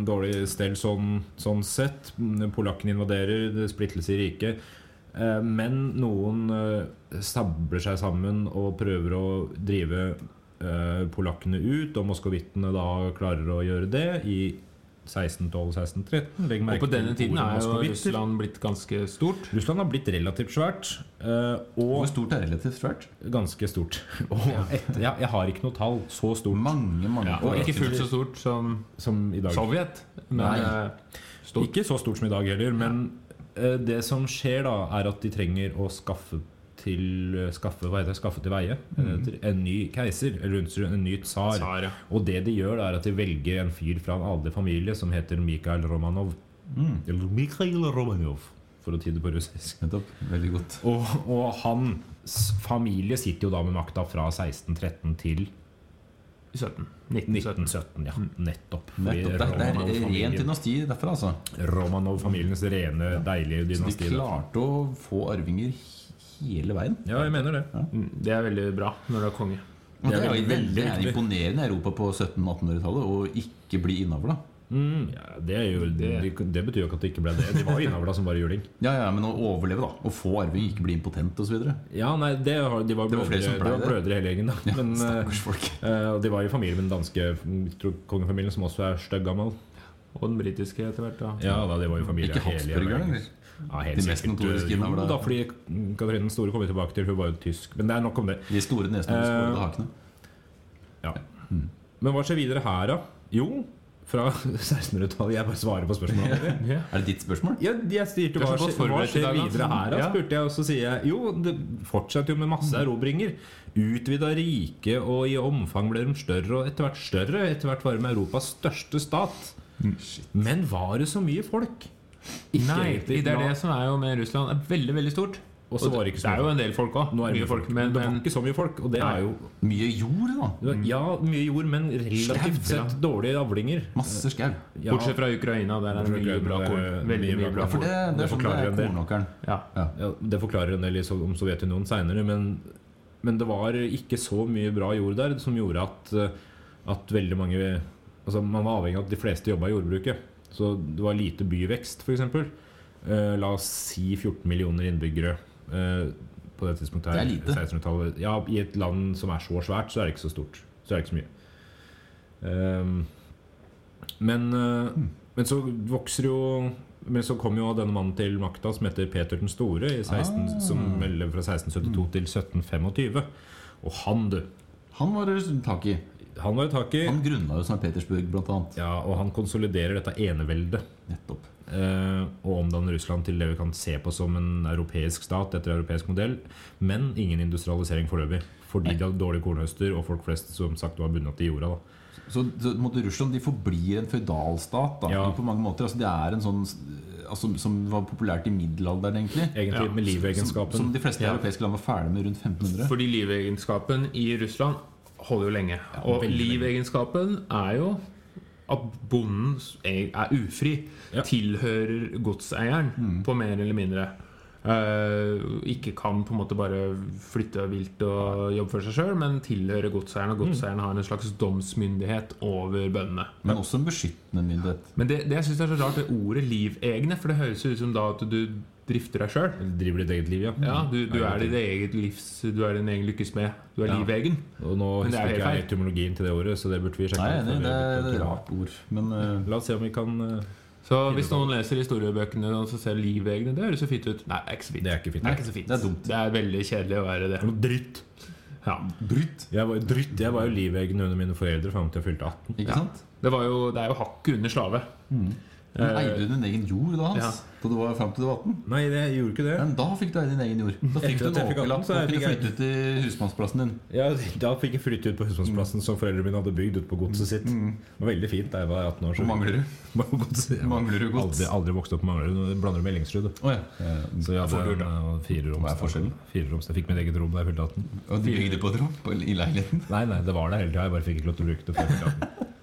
Speaker 4: dårlig stell sånn, sånn sett. Polakken invaderer, det er splittelse i riket. Eh, Men noen eh, stabler seg sammen og prøver å drive eh, polakkene ut. Og moskovittene da klarer å gjøre det i 1612-1613. Legg
Speaker 1: Og
Speaker 4: merke
Speaker 1: på denne
Speaker 4: til
Speaker 1: tiden
Speaker 4: ordet
Speaker 1: er jo
Speaker 4: moskovitter.
Speaker 1: Russland blitt ganske stort.
Speaker 4: Russland har blitt relativt svært. eh, Og
Speaker 5: Hvor stort er relativt svært?
Speaker 4: Ganske stort. Og etter, ja, jeg har ikke noe tall så stort
Speaker 5: Mange, mange
Speaker 1: Ja, og ikke
Speaker 5: kvadratkilometer.
Speaker 1: fullt så stort som
Speaker 4: som i dag.
Speaker 1: Sovjet, men
Speaker 5: Nei.
Speaker 1: eh, stort.
Speaker 4: Ikke så stort som i dag heller, men eh, det som skjer da, er at de trenger å skaffe til eh, Skaffe, hva heter det? skaffe til veie eh, en ny keiser, eller unnskyld, en ny tsar.
Speaker 1: Tsar, ja.
Speaker 4: Og det de gjør, da, er at de velger en fyr fra en adelig familie som heter Mikhail Romanov. Mm. Eller Mikhail Romanov, for å si det på russisk.
Speaker 5: Nettopp. Veldig godt.
Speaker 4: Og, og hans familie sitter jo da med makta fra 1613 til
Speaker 1: 17.
Speaker 4: 1917, ja. Nettopp.
Speaker 5: Nettopp. Det, det er
Speaker 4: Romanov-familien-
Speaker 5: rent dynasti derfra, altså.
Speaker 4: Romanov-familienes rene, deilige
Speaker 5: De
Speaker 4: dynasti. da.
Speaker 5: klarte å få arvinger he- hele veien.
Speaker 4: Ja, jeg mener det.
Speaker 1: Mm, Det er veldig bra når du er konge.
Speaker 5: Og det er jo
Speaker 4: veldig,
Speaker 5: veldig, det er
Speaker 4: veldig
Speaker 5: imponerende i Europa på 1700-1800-tallet å ikke bli innavla.
Speaker 4: Mm, ja, det, er jo, det, det betyr jo ikke at det ikke ble det. De var innavla som bare juling.
Speaker 5: Ja, ja, men å overleve, da. Å få arving, ikke bli impotent osv.
Speaker 4: Ja, nei, det, har- de var
Speaker 5: Det
Speaker 4: blødere,
Speaker 5: var flere som
Speaker 4: de
Speaker 5: ble
Speaker 4: var
Speaker 5: det.
Speaker 4: blødere hele gjengen, da. Men, eh,
Speaker 5: Stakkars folk.
Speaker 4: eh, og de var i familie med den danske tro- kongefamilien, som også er stygg gammel.
Speaker 1: Og den britiske etter hvert. da
Speaker 4: Ja, da, de var jo familie
Speaker 5: Ikke
Speaker 4: hele
Speaker 5: Habsburger,
Speaker 4: gjengen.
Speaker 5: eller?
Speaker 4: Ja, helt
Speaker 5: De mest
Speaker 4: sikkert.
Speaker 5: notoriske
Speaker 4: Jo,
Speaker 5: innavla.
Speaker 4: da, fordi Katarina den store kommer vi tilbake til. Hun var jo tysk. Men det er nok om det.
Speaker 5: De store nesene og de
Speaker 4: Eh,
Speaker 5: skårede hakene.
Speaker 4: Ja. Men hva skjer videre her, da? Jo, fra 1600-tallet. Jeg bare svarer på spørsmålet.
Speaker 1: Ja.
Speaker 5: Er det ditt spørsmål?
Speaker 4: Ja, jeg styrte
Speaker 1: Du er
Speaker 4: hva,
Speaker 1: så godt
Speaker 4: skje- hva
Speaker 1: forberedt i
Speaker 4: skjer
Speaker 1: dag, da.
Speaker 4: videre her, da,
Speaker 1: Ja. Mm.
Speaker 4: spurte jeg. Og så sier jeg jo, det fortsatte jo med masse erobringer. Utvida rike, og i omfang ble de større, og etter hvert større. Etter hvert var de Europas største stat. Men var det så mye folk? Ikke
Speaker 1: Mm. Nei,
Speaker 4: egentlig.
Speaker 1: det er det som er jo med Russland. Det er veldig, veldig stort.
Speaker 4: Og så var det ikke så
Speaker 1: er
Speaker 4: mye.
Speaker 1: jo en del folk òg.
Speaker 4: Nå er det mye folk,
Speaker 1: Men,
Speaker 4: det var
Speaker 1: men
Speaker 4: ikke så mye folk, og det
Speaker 1: Nei.
Speaker 4: er jo
Speaker 5: Mye jord, da.
Speaker 4: Ja, mye jord, men relativt
Speaker 5: Skau, ja.
Speaker 4: sett dårlige avlinger.
Speaker 5: Masse skau.
Speaker 4: Ja.
Speaker 1: bortsett fra Ukraina, der er det mye
Speaker 4: Ukraina,
Speaker 1: bra
Speaker 4: det er
Speaker 1: korn. Veldig
Speaker 4: mye
Speaker 1: mye
Speaker 4: bra
Speaker 1: bra
Speaker 5: Ja, for det, det
Speaker 4: Det
Speaker 5: er sånn det
Speaker 4: forklarer
Speaker 5: er
Speaker 4: en del.
Speaker 5: kornåkeren.
Speaker 1: Ja.
Speaker 5: Ja.
Speaker 4: Ja, det forklarer en del i so- om Sovjetunionen seinere, men, men det var ikke så mye bra jord der som gjorde at, eh, at veldig mange Altså Man var avhengig av at de fleste jobba i jordbruket. Så det var lite byvekst, f.eks. Uh, la oss si 14 millioner innbyggere. eh, på det tidspunktet her,
Speaker 5: Det er lite.
Speaker 4: 1600-tallet. Ja, I et land som er så svært, så er det ikke så stort. Så er det ikke så mye. Ehm, men, eh,
Speaker 5: Hmm.
Speaker 4: men så vokser jo Men så kom jo denne mannen til makta som heter Peter den store, i 16, som
Speaker 5: Ah. Hmm.
Speaker 4: melder fra 1672 til 1725. Og han, du!
Speaker 5: Han var det tak i.
Speaker 4: Han var i taket.
Speaker 5: Han grunnla jo St. Petersburg, blant annet.
Speaker 4: Ja, og han konsoliderer dette eneveldet
Speaker 5: Nettopp.
Speaker 4: eh, og omdanner Russland til det vi kan se på som en europeisk stat etter europeisk modell. Men ingen industrialisering foreløpig. Fordi de hadde dårlige kornhøster, og folk flest som sagt var bundet til jorda. Da.
Speaker 5: Så, så på en måte, Russland de forblir en føydalstat da,
Speaker 4: Ja.
Speaker 5: på mange måter. Altså, det er en sånn altså, Som var populært i middelalderen, egentlig.
Speaker 4: Egentlig
Speaker 1: Ja,
Speaker 4: med
Speaker 5: Som, som
Speaker 4: livegenskapen.
Speaker 5: de fleste
Speaker 1: Ja.
Speaker 5: europeiske land var ferdig med rundt 1500.
Speaker 1: Fordi livegenskapen i Russland holder jo lenge. og
Speaker 4: veldig lenge.
Speaker 1: livegenskapen er jo at bonden e- er er ufri.
Speaker 4: Ja. Mm.
Speaker 1: Tilhører godseieren på mer eller mindre. Eh, ikke kan på en måte bare flytte vilt og jobbe for seg sjøl, men tilhører godseieren.
Speaker 4: Mm.
Speaker 1: Og godseieren har en slags domsmyndighet over bøndene.
Speaker 5: Men også en beskyttende myndighet.
Speaker 1: Men det, det jeg syns er så rart, det ordet 'livegne', for det høres jo ut som da at du drifter deg sjøl.
Speaker 4: Eller Driver ditt eget liv, ja.
Speaker 1: Ja, du, du er ditt eget livs Du er din egen lykkes med. Du er
Speaker 4: Ja.
Speaker 1: livegen.
Speaker 4: Og nå
Speaker 1: Men det er
Speaker 4: husker
Speaker 1: helt
Speaker 4: ikke jeg
Speaker 1: feil.
Speaker 4: etymologien til det ordet, så det burde vi sjekke.
Speaker 5: Nei,
Speaker 4: ut før
Speaker 5: det,
Speaker 4: vi
Speaker 5: det er
Speaker 4: bytter
Speaker 5: et
Speaker 4: til-
Speaker 5: rart ord. Men eh,
Speaker 4: La oss se om vi kan eh,
Speaker 1: Så hvis noen leser historiebøkene og så ser livegne, det høres så fint ut. Nei, det er ikke så fint.
Speaker 4: Det er ikke fint.
Speaker 1: Det er, ikke så fint.
Speaker 5: Det er dumt.
Speaker 1: Det er veldig kjedelig å være det.
Speaker 4: noe dritt.
Speaker 1: Ja.
Speaker 5: brutt,
Speaker 4: Jeg var, dritt. Jeg var jo livegen under mine foreldre fram til jeg fylte 18.
Speaker 5: ikke sant?
Speaker 1: Det, var jo, det er jo hakket under slave.
Speaker 5: Men eide du din egen jord da, Hans? Da du var fram til du var 18?
Speaker 4: Nei, det, jeg gjorde ikke det.
Speaker 5: Men da fikk du eie din egen jord. Da fikk
Speaker 4: Etter at jeg
Speaker 5: du en
Speaker 4: fikk atten,
Speaker 5: åkerlapp
Speaker 4: så
Speaker 5: og
Speaker 4: fikk
Speaker 5: kunne
Speaker 4: jeg-
Speaker 5: flytte ut til husmannsplassen din.
Speaker 4: Ja, da fikk jeg flytte ut på
Speaker 5: Mm.
Speaker 4: husmannsplassen som foreldrene mine hadde bygd ute på godset sitt. Det var veldig fint da jeg var 18 år. så-
Speaker 5: Hvor Mm. mangler du?
Speaker 4: Godset, jeg var-
Speaker 5: Mangler du gods?
Speaker 4: Aldri, aldri vokst opp på Manglerud. nå Blander du med Ellingsrud? du.
Speaker 5: Å ja.
Speaker 4: Så jeg
Speaker 1: Får du
Speaker 4: hadde en,
Speaker 1: da?
Speaker 4: eh, fireroms-
Speaker 5: Hva er forskjellen? Mm.
Speaker 4: fireroms. Jeg fikk mitt eget rom da jeg fylte 18.
Speaker 5: Og du bygde på et rom på- i leiligheten?
Speaker 4: Nei, nei, det var der hele tida. Jeg bare fikk ikke lov til å bruke det før jeg fylte 18.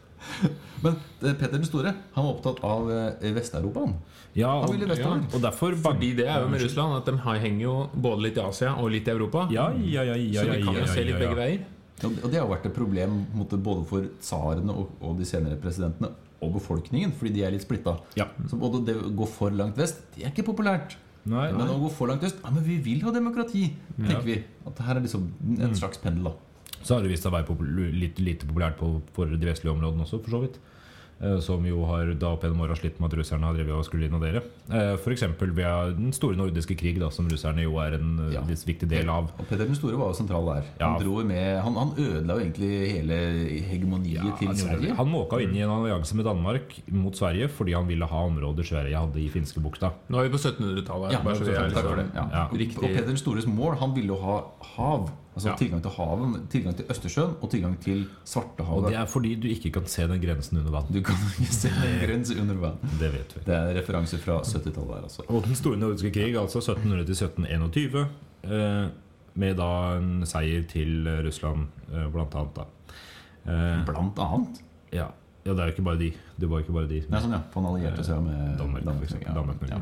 Speaker 5: Men eh, Peter den store han var opptatt av eh, Vest-Europa. han.
Speaker 4: Ja,
Speaker 5: Han ville
Speaker 4: og,
Speaker 5: Vestland.
Speaker 4: og derfor
Speaker 1: Fordi det er jo med Russland at de har- henger jo både litt i Asia og litt i Europa.
Speaker 4: Ja, ja, ja, ja, ja,
Speaker 1: så vi kan jo
Speaker 4: ja, ja,
Speaker 1: se litt
Speaker 4: ja,
Speaker 1: begge
Speaker 4: ja.
Speaker 1: veier.
Speaker 5: Og det- og det har vært et problem på en måte, både for tsarene og, og de senere presidentene og befolkningen, fordi de er litt splitta.
Speaker 4: Ja.
Speaker 5: Så både det å gå for langt vest, det er ikke populært.
Speaker 4: Nei,
Speaker 5: Men å gå for langt øst, ja, men vi vil ha demokrati, tenker vi. At her er liksom en
Speaker 4: Mm.
Speaker 5: slags pendel, da.
Speaker 4: Så har det vist seg å være popul- litt lite populært på, for de vestlige områdene også, for så vidt. Eh, Som jo har da opp gjennom åra slitt med at russerne har drevet og skulle invadere. F.eks. ved den store nordiske krig, da, som russerne jo er en eh,
Speaker 5: Ja.
Speaker 4: viss viktig del av.
Speaker 5: Og Peter den store var jo sentral der. Han,
Speaker 4: Ja.
Speaker 5: dro jo med, han, han ødela jo egentlig hele hegemoniet til
Speaker 4: Han gjorde det.
Speaker 5: Sverige.
Speaker 4: Han måka inn i en allianse med Danmark mot Sverige fordi han ville ha områder Sverige hadde i finskebukta.
Speaker 1: Nå er vi på 1700-tallet.
Speaker 5: Ja,
Speaker 1: bare så vi er
Speaker 5: takk for det.
Speaker 1: liksom-
Speaker 5: Ja.
Speaker 4: ja,
Speaker 5: Og-
Speaker 1: riktig.
Speaker 5: Og Peter den stores mål, han ville jo ha hav. Altså
Speaker 1: Ja.
Speaker 5: tilgang til havet, tilgang til Østersjøen og tilgang til
Speaker 4: Og det
Speaker 5: Svartehavet.
Speaker 4: er fordi du ikke kan se den grensen under vann.
Speaker 5: Du kan ikke se en grense under vann.
Speaker 4: Det vet vi.
Speaker 5: Det er en referanse fra 70-tallet her, altså.
Speaker 4: Og den store nordiske krig, altså 1700 til 1721, eh, med da en seier til eh, Russland, eh, blant annet. da. Eh,
Speaker 5: Blant annet.
Speaker 4: ja. ja, det er jo ikke bare de. Det var jo ikke bare de.
Speaker 5: Nei, sånn, ja. For han allierte seg med
Speaker 4: Eh,
Speaker 5: liksom.
Speaker 4: Danmark, for eksempel.
Speaker 5: Mm. ja.
Speaker 4: Danmark, Norge.
Speaker 5: ja.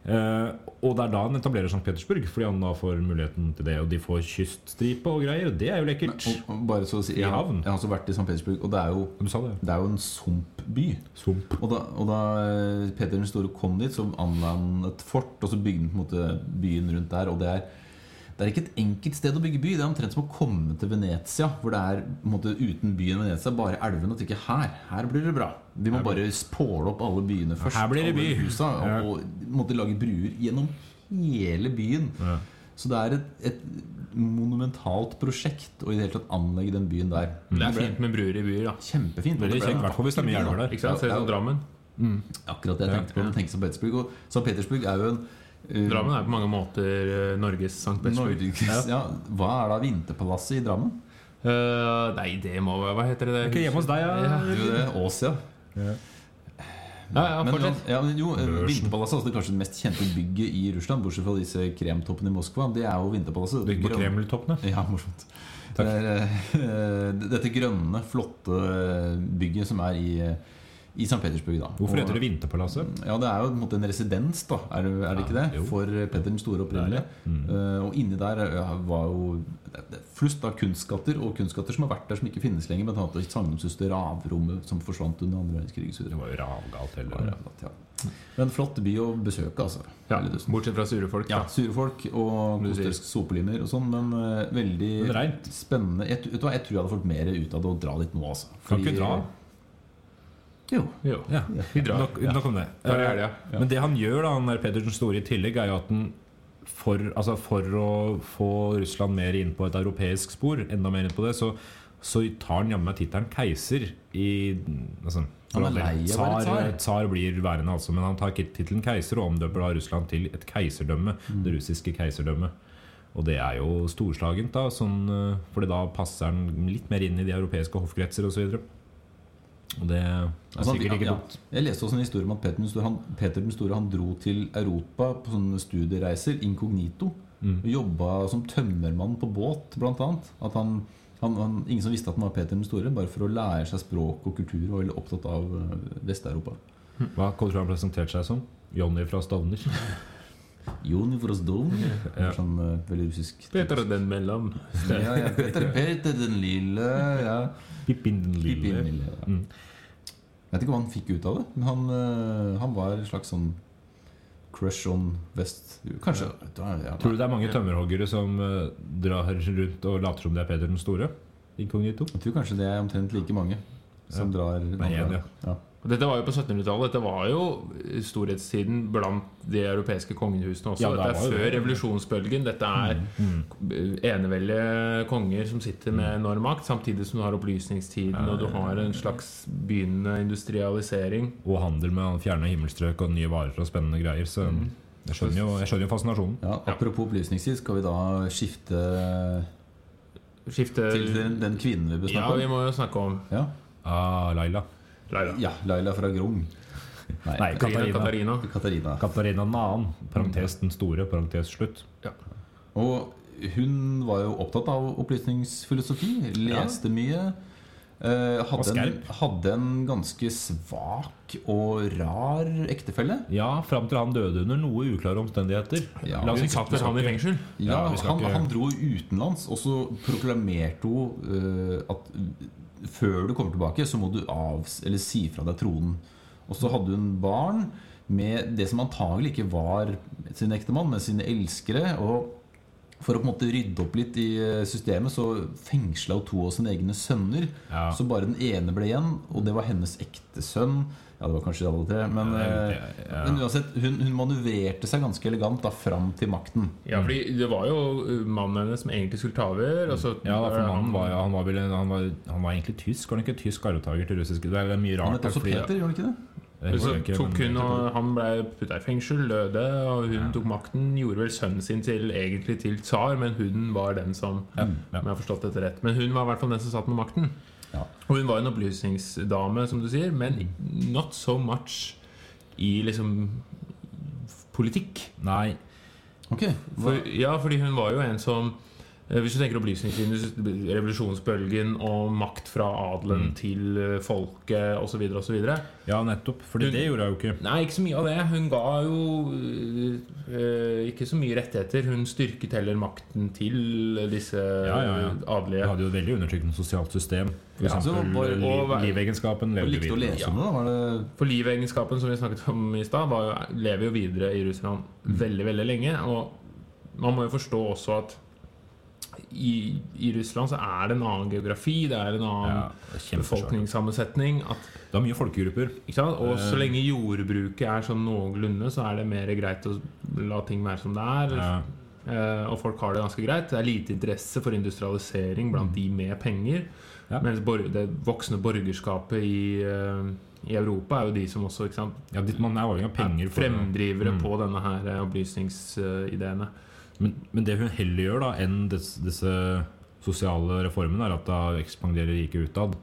Speaker 4: Eh, og det er da han etablerer St. Petersburg, fordi han da får muligheten til det. Og de får kyststripe og greier. Det er jo lekkert.
Speaker 5: Og, og bare så å si, jeg,
Speaker 4: I
Speaker 5: har-
Speaker 4: havn.
Speaker 5: jeg har også vært i St. Petersburg, og det er jo,
Speaker 4: du sa det.
Speaker 5: det er jo en sumpby.
Speaker 4: Sump.
Speaker 5: Og da, og da eh, Peter den store kom dit, så anla han et fort, og så bygde han på en måte byen rundt der. Og det er, det er ikke et enkelt sted å bygge by. Det er omtrent som å komme til Venezia, hvor det er på en måte, uten byen Venezia, bare elven, og tenke her, her blir det bra. Vi må bare spåle opp alle byene først.
Speaker 4: Her blir det
Speaker 5: alle
Speaker 4: by.
Speaker 5: Husa,
Speaker 4: Ja.
Speaker 5: og, og måtte lage bruer gjennom hele byen.
Speaker 4: Ja.
Speaker 5: Så det er et, et monumentalt prosjekt å i det hele tatt anlegge den byen der.
Speaker 1: Det er fint med bruer i byer, da.
Speaker 5: Kjempefint. og
Speaker 4: Veldig
Speaker 5: det ble
Speaker 4: kjekt, i
Speaker 5: en
Speaker 4: hvert fall hvis det er mye elver der.
Speaker 1: Ikke sant? Se
Speaker 5: Ja,
Speaker 1: sånn Drammen.
Speaker 5: Akkurat det jeg tenkte på. når jeg tenkte St. Petersburg Og St. Petersburg er jo en eh,
Speaker 1: Drammen er på mange måter eh, Norges Sankt Petersburg.
Speaker 5: Norges, ja. Hva er da Vinterpalasset i Drammen?
Speaker 1: Eh, nei, det må være Hva heter det?
Speaker 4: Ikke hjemme hos deg, ja.
Speaker 5: Det er jo det, Åsia.
Speaker 1: Ja, ja,
Speaker 5: Men,
Speaker 1: fortsett.
Speaker 5: ja, men jo, eh, Vinterpalasset altså det er kanskje det mest kjente bygget i Russland, bortsett fra disse kremtoppene i Moskva. Det er jo Vinterpalasset.
Speaker 4: Bygg på
Speaker 5: Grønn-
Speaker 4: Kremltoppene.
Speaker 5: Ja, morsomt. Det er, eh, dette grønne, flotte bygget som er i, eh, i St. Petersburg. Da.
Speaker 4: Hvorfor heter det Vinterpalasset?
Speaker 5: Ja, Det er jo på en måte en residens, da, er det, er det ikke det?
Speaker 4: jo.
Speaker 5: For eh, Petter den store opprinnelig.
Speaker 1: Mm.
Speaker 5: Eh, og inni der eh, var jo det- det er flust av kunstskatter, og kunstskatter som har vært der som ikke finnes lenger. Blant annet sagnomsuste Ravrommet, som forsvant under andre verdenskrig. Så det
Speaker 4: Det
Speaker 5: var
Speaker 4: var jo ravgalt heller.
Speaker 5: rævlatt, ja. Men flott by å besøke, altså.
Speaker 1: Ja,
Speaker 5: Veldig tusen.
Speaker 1: bortsett fra sure folk.
Speaker 5: Ja,
Speaker 1: da.
Speaker 5: Sure folk og
Speaker 1: Du sier.
Speaker 5: kosterisk sopelinjer og sånn, men eh, veldig
Speaker 4: Men reint.
Speaker 5: spennende. Jeg, vet du hva, jeg tror jeg hadde fått mer ut av det å dra litt nå, altså.
Speaker 4: Kan ikke dra.
Speaker 5: Jo.
Speaker 1: Jo.
Speaker 4: Ja.
Speaker 1: Vi drar.
Speaker 4: Nok, nok om det.
Speaker 1: Da er det helga.
Speaker 4: Eh, Men det han gjør, da, han der Pedersen Store i tillegg, er jo at han for, altså for å få Russland mer inn på et europeisk spor, enda mer inn på det, så så tar han jammen meg tittelen keiser i altså,
Speaker 5: Han er lei av å være
Speaker 4: tsar.
Speaker 5: tsar.
Speaker 4: Tsar blir værende, altså, men han tar tittelen keiser og omdøper da Russland til et keiserdømme.
Speaker 5: Mm.
Speaker 4: Det russiske keiserdømmet. Og det er jo storslagent, da, sånn, eh, fordi da passer han litt mer inn i de europeiske hoffkretser osv. Og, så videre. og det er
Speaker 5: Altså, han-
Speaker 4: sikkert ikke
Speaker 5: ja,
Speaker 4: dumt.
Speaker 5: Jeg leste også en historie om at Peter den store, han, Peter den store han dro til Europa på sånne studiereiser inkognito.
Speaker 4: Mm.
Speaker 5: Og jobba som tømmermann på båt, blant annet. At han, han, han, ingen som visste at han var Peter den store, bare for å lære seg språk og kultur. Og var veldig opptatt av eh, Vest-Europa.
Speaker 4: Hva tror du han presenterte seg som? Johnny fra Stovner.
Speaker 5: Jon Vrozdov. Sånn eh, veldig russisk.
Speaker 1: Peter den mellom.
Speaker 5: Ja, ja, Peter, Peter den lille. Ja.
Speaker 4: Pippin den
Speaker 5: Pippin
Speaker 4: lille.
Speaker 5: den lille. Ja. Jeg vet ikke hva han fikk ut av det, men han, eh, han var en slags sånn crush on vest... Kanskje ja. Ja,
Speaker 4: Tror du det er mange tømmerhoggere som eh, drar rundt og later som det er Peter den store? Inkognito?
Speaker 5: Jeg tror kanskje det er omtrent like mange som drar
Speaker 4: en, ja.
Speaker 5: Ja.
Speaker 1: Dette var jo på 1700-tallet. Dette var jo storhetstiden blant de europeiske kongehusene også.
Speaker 4: Ja, det
Speaker 1: dette er
Speaker 4: var jo
Speaker 1: før
Speaker 4: det. Mm,
Speaker 1: revolusjonsbølgen. Dette er eneveldige konger som sitter med
Speaker 4: Mm.
Speaker 1: enorm makt, samtidig som du har opplysningstiden, og du har en slags begynnende industrialisering.
Speaker 4: Og handel med fjerne himmelstrøk og nye varer og spennende greier. Så jeg skjønner jo, jeg skjønner jo fascinasjonen.
Speaker 5: Ja, apropos opplysningstid, skal vi da skifte
Speaker 1: Skifte
Speaker 5: til den, den kvinnen vi
Speaker 1: Ja,
Speaker 5: bør
Speaker 1: vi
Speaker 5: snakke om?
Speaker 1: må jo snakke om
Speaker 5: Ja,
Speaker 4: Ah, Laila.
Speaker 1: Laila.
Speaker 5: ja Laila fra Grung. Nei,
Speaker 4: Nei,
Speaker 1: Katarina.
Speaker 4: Katarina.
Speaker 1: Katarina.
Speaker 5: Katarina.
Speaker 4: Katarina Naan. Parentes den store, parentes slutt.
Speaker 1: Ja.
Speaker 5: Og hun var jo opptatt av opplysningsfilosofi, leste mye. eh, hadde, en,
Speaker 4: skerp.
Speaker 5: hadde en ganske svak og rar ektefelle.
Speaker 4: Ja, fram til han døde under noe uklare omstendigheter.
Speaker 5: Ja.
Speaker 4: La oss
Speaker 1: Hun
Speaker 4: ikke-
Speaker 1: satt vel han i fengsel?
Speaker 5: Ja,
Speaker 4: Ja, vi skal
Speaker 5: han,
Speaker 4: ikke-
Speaker 5: han dro utenlands, og så proklamerte hun eh, at eh, før du kommer tilbake, så må du av, eller si fra deg tronen. Og så hadde hun barn med det som antagelig ikke var sin ektemann, men sine elskere. Og for å på en måte rydde opp litt i eh, systemet, så fengsla hun to av sine egne sønner.
Speaker 4: Ja.
Speaker 5: Så bare den ene ble igjen, og det var hennes ekte sønn. Ja, det var kanskje alle tre, men,
Speaker 4: Ja,
Speaker 5: eh,
Speaker 4: det- ja.
Speaker 5: men uansett, hun, hun manøvrerte seg ganske elegant da fram til makten.
Speaker 1: Ja, fordi det var jo uh, mannen hennes som egentlig skulle ta over. Og så
Speaker 4: Ja, da, for mannen var, han var, vel, en- han var, han var egentlig tysk. Var han ikke tysk arvtaker til russiske Det er mye
Speaker 5: Han
Speaker 4: rart.
Speaker 5: het også
Speaker 4: fordi-
Speaker 5: Peter, gjør han ikke det?
Speaker 4: Det husker
Speaker 1: Så
Speaker 4: jeg ikke,
Speaker 1: tok
Speaker 4: men-
Speaker 1: hun og Han ble putta i fengsel, døde, og hun tok makten. Gjorde vel sønnen sin til egentlig til tsar, men hun var den som
Speaker 4: Ja, ja.
Speaker 1: om jeg har forstått dette rett Men hun var i hvert fall den som satt med makten.
Speaker 5: Ja.
Speaker 1: Og hun var en opplysningsdame, som du sier, men not so much i liksom politikk.
Speaker 4: Nei.
Speaker 5: Ok, hva,
Speaker 1: For, ja, fordi hun var jo en som eh, Hvis du tenker opplysningslinjen, revolusjonsbølgen og makt fra adelen til eh, folket osv. osv.
Speaker 4: Ja, nettopp. Fordi
Speaker 1: Hun-
Speaker 4: det gjorde jeg jo ikke.
Speaker 1: Nei, ikke så mye av det. Hun ga jo eh, ikke så mye rettigheter. Hun styrket heller makten til disse
Speaker 4: ja, ja. Vi
Speaker 1: adelige.
Speaker 4: hadde jo et veldig undertrykkende sosialt system. For
Speaker 5: Ja, så
Speaker 4: eksempel
Speaker 5: bare-
Speaker 4: liv,
Speaker 1: og-
Speaker 4: livegenskapen
Speaker 5: hva
Speaker 4: levde
Speaker 5: likte å
Speaker 4: videre.
Speaker 5: lese om det, da? Var det
Speaker 1: For livegenskapen som vi snakket om i stad, var jo- lever jo videre i Russland
Speaker 4: Mm.
Speaker 1: veldig, veldig lenge. Og man må jo forstå også at i, i Russland så er det en annen geografi, det er en annen
Speaker 4: Ja, det er kjempesvårt.
Speaker 1: befolkningssammensetning. At
Speaker 4: Det er mye folkegrupper.
Speaker 1: Ikke sant? Og
Speaker 4: Eh.
Speaker 1: så lenge jordbruket er sånn noenlunde, så er det mer greit å la ting være som det er.
Speaker 4: Ja.
Speaker 1: Eh, og folk har det ganske greit. Det er lite interesse for industrialisering blant de med penger.
Speaker 4: Ja.
Speaker 1: Mens bor det voksne borgerskapet i, eh, i Europa er jo de som også ikke sant,
Speaker 4: Ja, dit man er avhengig av penger.
Speaker 1: er
Speaker 4: for-
Speaker 1: fremdrivere på denne her eh, opplysningsideene.
Speaker 4: Men, men det hun heller gjør da enn dess, disse sosiale reformene, er at da ekspanderer riket utad.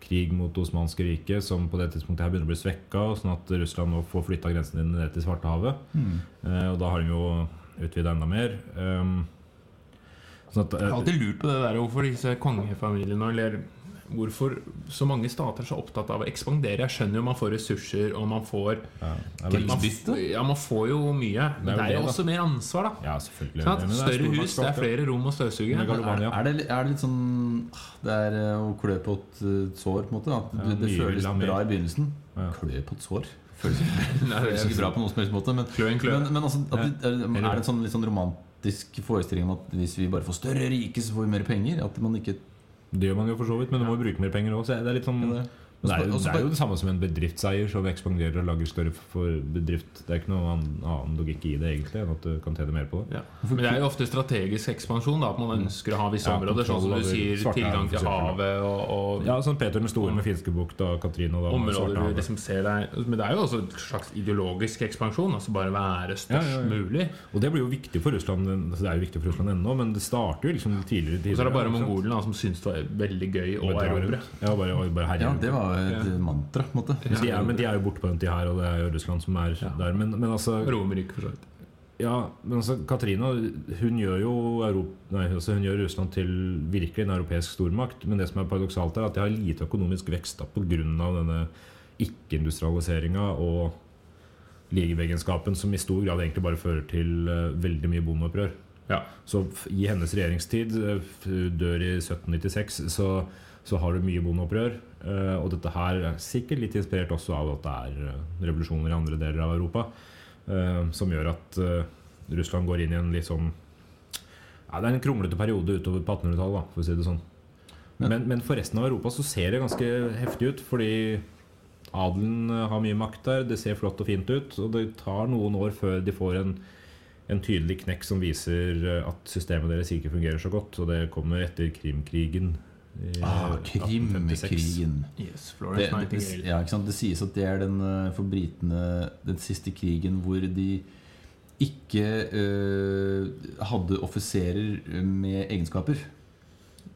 Speaker 4: Krig mot Det osmanske riket, som på det tidspunktet her begynner å bli svekka, sånn at Russland nå får flytta grensene sine ned til Svartehavet. Eh, og da har de jo utvida enda mer. Ehm, sånn at
Speaker 1: Jeg
Speaker 4: eh,
Speaker 1: har alltid lurt på det der hvorfor disse kongefamiliene eller Hvorfor så mange stater er så opptatt av å ekspandere. Jeg skjønner jo man får ressurser, og man får
Speaker 4: ja, det er
Speaker 1: Man
Speaker 4: veldig-
Speaker 1: f- Ja, man får jo mye. Men det er jo
Speaker 4: da.
Speaker 1: også mer ansvar, da.
Speaker 4: Ja, selvfølgelig.
Speaker 1: Sånn at
Speaker 4: Men det er
Speaker 1: Større hus, det
Speaker 4: stormaktsspråk,
Speaker 1: er flere rom å støvsuge.
Speaker 4: Men det går jo
Speaker 5: er,
Speaker 4: bare-
Speaker 5: er, det, er det litt sånn ah, Det er eh, å klø på et eh, sår, på en måte? At det, det
Speaker 4: mye vil
Speaker 5: føles
Speaker 4: ha mer.
Speaker 5: bra i begynnelsen?
Speaker 4: Ja.
Speaker 5: Klø på et sår? Føles ikke, føles ikke bra på noen som helst måte. Men,
Speaker 1: Klø en klø.
Speaker 5: men, men altså, at, det- er, er
Speaker 4: Eller-
Speaker 5: det en sånn litt sånn romantisk forestilling om at hvis vi bare får større rike, så får vi mer penger? At man ikke
Speaker 4: Det gjør man jo for så vidt, men du må jo bruke mer penger òg. Det er litt sånn
Speaker 5: Ja, det.
Speaker 4: Det er, jo,
Speaker 5: Også-
Speaker 4: det er jo det samme som en bedriftseier som ekspanderer og lager større for bedrift. Det er ikke noe annen, annen logikk i det, egentlig, enn at du kan tjene mer på det.
Speaker 1: Ja. Men det er jo ofte strategisk ekspansjon. da At man ønsker å ha visse
Speaker 4: Ja,
Speaker 1: områder. Sånn som
Speaker 4: kontroll
Speaker 1: du
Speaker 4: over
Speaker 1: sier,
Speaker 4: Svartehavet,
Speaker 1: tilgang
Speaker 4: for
Speaker 1: til
Speaker 4: eksempel,
Speaker 1: havet og, og
Speaker 4: Ja, sånn Peter den store med Finskebukta og Katrine og da
Speaker 1: områder du
Speaker 4: Svartehavet.
Speaker 1: liksom ser deg Men det er jo også en slags ideologisk ekspansjon. Altså bare være størst
Speaker 4: Ja, ja, ja.
Speaker 1: mulig.
Speaker 4: Og det blir jo viktig for Russland altså, Det er jo viktig for Russland ennå, men det starter jo liksom tidligere
Speaker 1: Og så er det bare
Speaker 4: tidligere, ikke sant?
Speaker 1: mongolene da, som syns det var veldig gøy å
Speaker 4: Bare drar
Speaker 1: erobre.
Speaker 4: rundt. Ja, bare, bare herjer
Speaker 5: Ja,
Speaker 4: rundt.
Speaker 5: det var jo et mantra, på en måte.
Speaker 4: Men de er, men de er jo borte på den tida her, og det er jo Russland som er der. Men, men altså
Speaker 1: Romerriket, for så vidt.
Speaker 4: Ja, men altså, Katrina hun gjør jo Europ- nei, altså, hun gjør Russland til virkelig en europeisk stormakt. Men det som er paradoksalt, er at de har lite økonomisk vekst da, pga. denne ikke-industrialiseringa og ligevegenskapen som i stor grad egentlig bare fører til eh, veldig mye bondeopprør.
Speaker 1: Ja.
Speaker 4: Så f- i hennes regjeringstid, eh, f- dør i 1796, så, så har du mye bondeopprør. eh, Og dette her er sikkert litt inspirert også av at det er eh, revolusjoner i andre deler av Europa. eh, Som gjør at eh, Russland går inn i en litt sånn ja, Det er en kronglete periode utover på 1800-tallet, da, for å si det sånn. Men, men for resten av Europa så ser det ganske heftig ut, fordi adelen eh, har mye makt der. Det ser flott og fint ut, og det tar noen år før de får en en tydelig knekk som viser eh, at systemet deres ikke fungerer så godt. Og det kommer etter Krimkrigen. i
Speaker 5: Ah,
Speaker 4: 1856.
Speaker 5: Krimkrigen.
Speaker 1: Yes,
Speaker 5: Det,
Speaker 1: Florence
Speaker 5: det,
Speaker 1: Nightingale.
Speaker 5: ja, ikke sant? det sies at det er den eh, for britene den siste krigen hvor de ikke eh, hadde offiserer med egenskaper.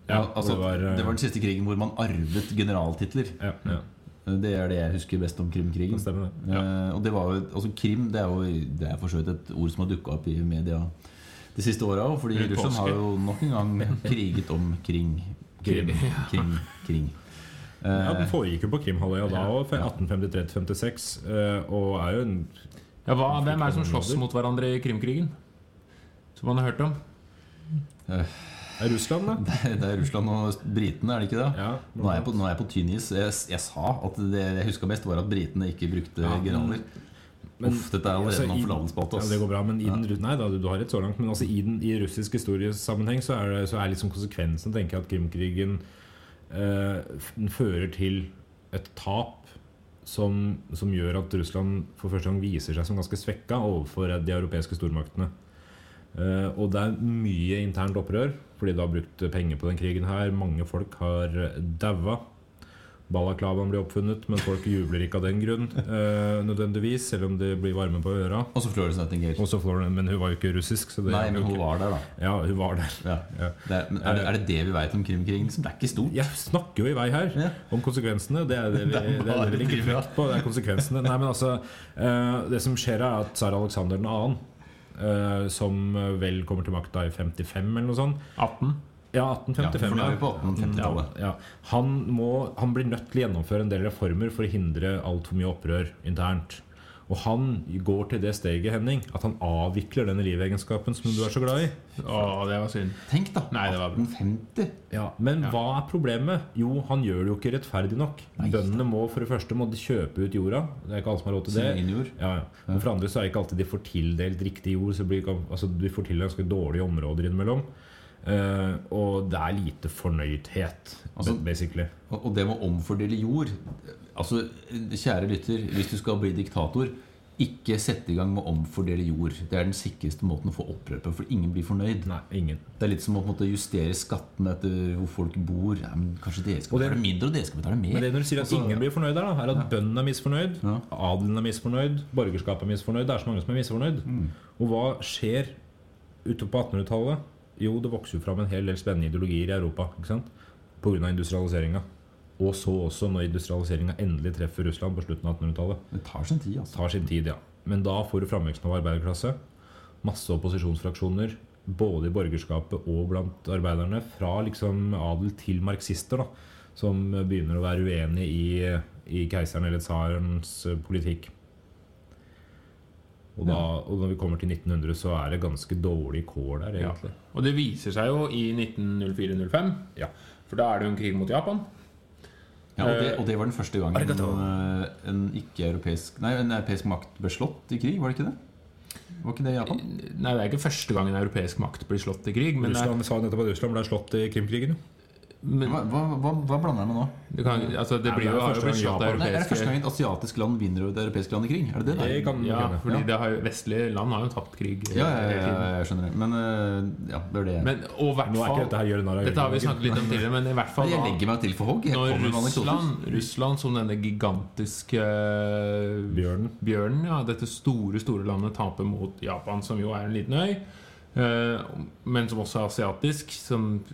Speaker 4: Ja,
Speaker 5: Al-
Speaker 4: det
Speaker 5: altså, det,
Speaker 4: var,
Speaker 5: var,
Speaker 4: eh,
Speaker 5: den siste krigen hvor man arvet generaltitler. Eh,
Speaker 4: Ja, ja,
Speaker 5: Det er det jeg husker best om
Speaker 4: det
Speaker 5: Krimkrigen.
Speaker 4: stemmer det.
Speaker 5: Eh, og det var jo, altså Krim det er jo det er for så vidt et ord som har dukka opp i media de siste åra òg. Fordi
Speaker 1: Rundt
Speaker 5: Russland har
Speaker 1: påske.
Speaker 5: jo nok en gang kriget om kring. Krim.
Speaker 1: Krim,
Speaker 5: Krim, kring.
Speaker 4: Ja, Den
Speaker 5: Eh,
Speaker 4: foregikk jo på Krimhalvøya da òg, fra
Speaker 5: Ja.
Speaker 4: 1853 til 56. eh, Og er jo en
Speaker 1: Ja, hva, hvem er det som slåss mot hverandre i krimkrigen? Som man har hørt om?
Speaker 4: er Russland, da.
Speaker 5: det er- det er Russland og britene, er det ikke det?
Speaker 4: Ja,
Speaker 5: Nå er jeg på, nå er jeg på tynn is. Jeg, jeg sa at det jeg huska best, var at britene ikke brukte
Speaker 4: Ja, men-
Speaker 5: generaler.
Speaker 4: men-
Speaker 5: Uff, dette er allerede
Speaker 4: altså,
Speaker 5: noen
Speaker 4: i-
Speaker 5: forlatelsespalte.
Speaker 4: Ja,
Speaker 5: ass.
Speaker 4: det går bra, men i den, nei da, du, du har rett så langt. Men altså, i, den, i russisk historiesammenheng så er, det, så er liksom konsekvensen tenker jeg, at Krimkrigen eh, f- den fører til et tap som, som gjør at Russland for første gang viser seg som ganske svekka overfor eh, de europeiske stormaktene. Eh, og det er mye internt opprør, fordi det har brukt penger på den krigen her. Mange folk har eh, daua. Balaklavaen ble oppfunnet, men folk jubler ikke av den grunn. eh, nødvendigvis, selv om det blir varme på øra.
Speaker 5: Og så Florence Nightingale.
Speaker 4: Også Florence, men hun var jo ikke russisk. Så det
Speaker 5: Nei, men hun var der, da.
Speaker 4: Ja, hun var der.
Speaker 5: Ja.
Speaker 4: Ja.
Speaker 5: Det er, men er, det, er det det vi veit om krimkrigen? Liksom? Det er ikke stort.
Speaker 4: Jeg snakker jo i vei her
Speaker 5: Ja.
Speaker 4: om konsekvensene. Det er det vi, det
Speaker 5: Det er
Speaker 4: er det
Speaker 5: bare
Speaker 4: vi legger
Speaker 5: trivia.
Speaker 4: vekt på. Det er konsekvensene. Nei, men altså, eh, det som skjer, er at tsar Aleksander 2., eh, som vel kommer til makta i 55 eller noe sånt
Speaker 1: 18?
Speaker 4: Ja,
Speaker 5: Ja, for
Speaker 4: 1855.
Speaker 5: nå er vi på
Speaker 4: Ja,
Speaker 5: 1850-tallet.
Speaker 4: ja. Han, må, han blir nødt til å gjennomføre en del reformer for å hindre altfor mye opprør internt. Og han går til det steget Henning, at han avvikler denne livegenskapen som du er så glad i.
Speaker 1: Å, det var synd.
Speaker 5: Tenk, da!
Speaker 1: Nei, det var bra.
Speaker 5: 1850.
Speaker 4: Men hva er problemet? Jo, han gjør det jo ikke rettferdig nok. Bøndene må for det første må de kjøpe ut jorda. Det er ikke alle som har råd til det.
Speaker 5: Sin egen jord.
Speaker 4: Ja, ja. Men for andre så er ikke alltid de får tildelt riktig jord. Så blir, ikke- altså, de får tildelt ganske dårlige områder innimellom. Eh, og det er lite fornøydhet,
Speaker 5: Altså-
Speaker 4: basically.
Speaker 5: Og og det med å omfordele jord Altså, Kjære lytter, hvis du skal bli diktator, ikke sette i gang med å omfordele jord. Det er den sikreste måten å få opprør på, for ingen blir fornøyd.
Speaker 4: Nei, ingen.
Speaker 5: Det er litt som å på en måte, justere skattene etter hvor folk bor. Ja, men kanskje dere skal
Speaker 4: Og det-
Speaker 5: betale mindre, og dere skal betale mer.
Speaker 4: Men det når du sier at ingen blir fornøyd, her, da, er at bøndene er misfornøyd,
Speaker 5: Ja.
Speaker 4: adelen er misfornøyd, borgerskapet er misfornøyd. Det er så mange som er misfornøyd.
Speaker 5: Mm.
Speaker 4: Og hva skjer ute på 1800-tallet? Jo, det vokser jo fram en hel del spennende ideologier i Europa ikke sant? pga. industrialiseringa. Og så også når industrialiseringa endelig treffer Russland på slutten av 1800-tallet.
Speaker 5: Det tar sin tid, altså.
Speaker 4: Tar sin tid, ja. Men da får du framveksten av arbeiderklasse. Masse opposisjonsfraksjoner, både i borgerskapet og blant arbeiderne. Fra liksom adel til marxister, da. Som begynner å være uenig i, i keiseren eller tsarens eh, politikk. Og, da, og når vi kommer til 1900, så er det ganske dårlig kår der,
Speaker 1: Ja.
Speaker 4: egentlig.
Speaker 1: Og det viser seg jo i 1904-05,
Speaker 4: Ja.
Speaker 1: for da er det jo en krig mot Japan.
Speaker 5: Ja, og, det, og det var den første gangen en, eh, en ikke-europeisk Nei, en europeisk makt ble slått i krig, var det ikke det? Var ikke det i Japan?
Speaker 1: Nei,
Speaker 4: eh,
Speaker 1: det er ikke første gang en europeisk makt blir slått i krig, men eh, det er,
Speaker 4: Russland sa nettopp at Russland ble slått i Krimkrigen. jo.
Speaker 1: Men
Speaker 5: Hva, hva, hva, hva blander jeg med nå?
Speaker 1: du kan, altså, det
Speaker 4: Mm. Nei,
Speaker 1: blir
Speaker 4: det er
Speaker 1: jo, har jo blitt
Speaker 4: første gang
Speaker 1: slått av
Speaker 4: Japan-
Speaker 5: Nei, er det første
Speaker 1: europeiske
Speaker 5: gang et asiatisk land vinner over et europeisk land i krig? Er det det der?
Speaker 4: Det kan
Speaker 1: ja,
Speaker 4: ja.
Speaker 1: fordi
Speaker 5: Ja.
Speaker 1: det har jo, Vestlige land har jo tapt krig. eh,
Speaker 5: Ja, ja,
Speaker 1: hele
Speaker 5: ja,
Speaker 1: tiden.
Speaker 5: ja, jeg skjønner det. Men eh, ja, det er det jeg
Speaker 1: Men, og i hvert
Speaker 4: Nå er ikke
Speaker 1: fall
Speaker 4: dette her gjør narr av
Speaker 1: Dette har vi
Speaker 4: Jørgen Hagen.
Speaker 1: snakket litt om tidligere, men i hvert fall
Speaker 5: Jeg
Speaker 1: da-
Speaker 5: legger meg til for hogg. Jeg
Speaker 1: Når
Speaker 5: kommer med anekdoter.
Speaker 1: Russland, Russland som denne gigantiske eh,
Speaker 4: Bjørnen.
Speaker 1: bjørnen, ja, dette store, store landet taper mot Japan, som jo er en liten øy, eh, men som også er asiatisk, som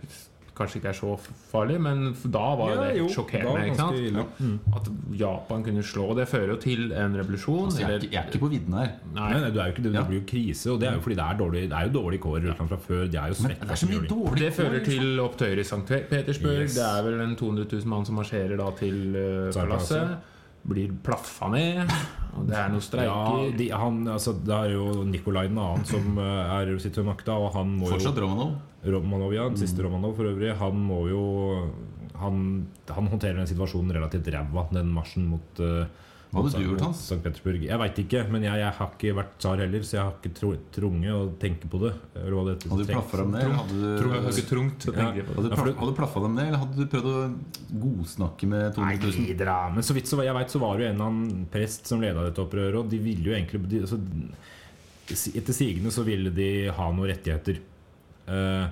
Speaker 1: kanskje ikke er så farlig, men da var jo
Speaker 4: Ja,
Speaker 1: det
Speaker 4: jo, da var
Speaker 1: sjokkerende.
Speaker 4: det
Speaker 1: ikke
Speaker 4: ganske ille.
Speaker 1: sant? At Japan kunne slå. Det fører jo til en revolusjon.
Speaker 5: Altså, jeg, er
Speaker 1: eller-
Speaker 5: ikke, jeg er ikke på vidden her.
Speaker 1: nei,
Speaker 4: Nei, nei, du er jo ikke det. Det
Speaker 5: Ja.
Speaker 4: blir jo krise, og det er jo fordi det er, dårlig, det er jo dårlig kår i Russland fra før. De er jo
Speaker 5: Men det er så mye
Speaker 4: svette.
Speaker 5: dårlig
Speaker 1: det fører til opptøyer i St. Petersburg.
Speaker 4: Yes.
Speaker 1: Det er vel en 200 000 mann som marsjerer da til eh,
Speaker 4: Tsarpalasset.
Speaker 1: palasset. Blir plaffa ned. Og det er noen
Speaker 4: Ja,
Speaker 1: streiker.
Speaker 4: de, han, altså, det er jo Nikolai 2. som eh, er, sitter ved makta, og han må jo
Speaker 5: Fortsatt Mm. Romanov.
Speaker 4: Romanov, ja, den siste Romanov for øvrig, han må jo Han, han håndterer den situasjonen relativt ræva, den marsjen mot eh,
Speaker 5: Hva hadde
Speaker 4: mot-
Speaker 5: du gjort, Hans?
Speaker 4: St. Petersburg. Jeg veit ikke, men jeg, jeg har ikke vært tsar heller, så jeg har ikke tro, trunget å tenke på det. Eller hva det heter.
Speaker 5: Hadde du
Speaker 4: Tenkt-
Speaker 5: plaffa dem ned? eller Hadde du,
Speaker 1: Tror jeg hugger tungt. så tenker jeg på det.
Speaker 5: hadde du
Speaker 4: Ja, for
Speaker 5: plaff-
Speaker 4: du-
Speaker 5: hadde du plaffa dem ned, eller hadde du prøvd å godsnakke med 200 000?
Speaker 4: Nei, dra, men så vidt så, jeg vet, så var det jo en eller annen prest som leda dette opprøret, og de ville jo egentlig de, altså, si- Etter sigende så ville de ha noen rettigheter. Eh,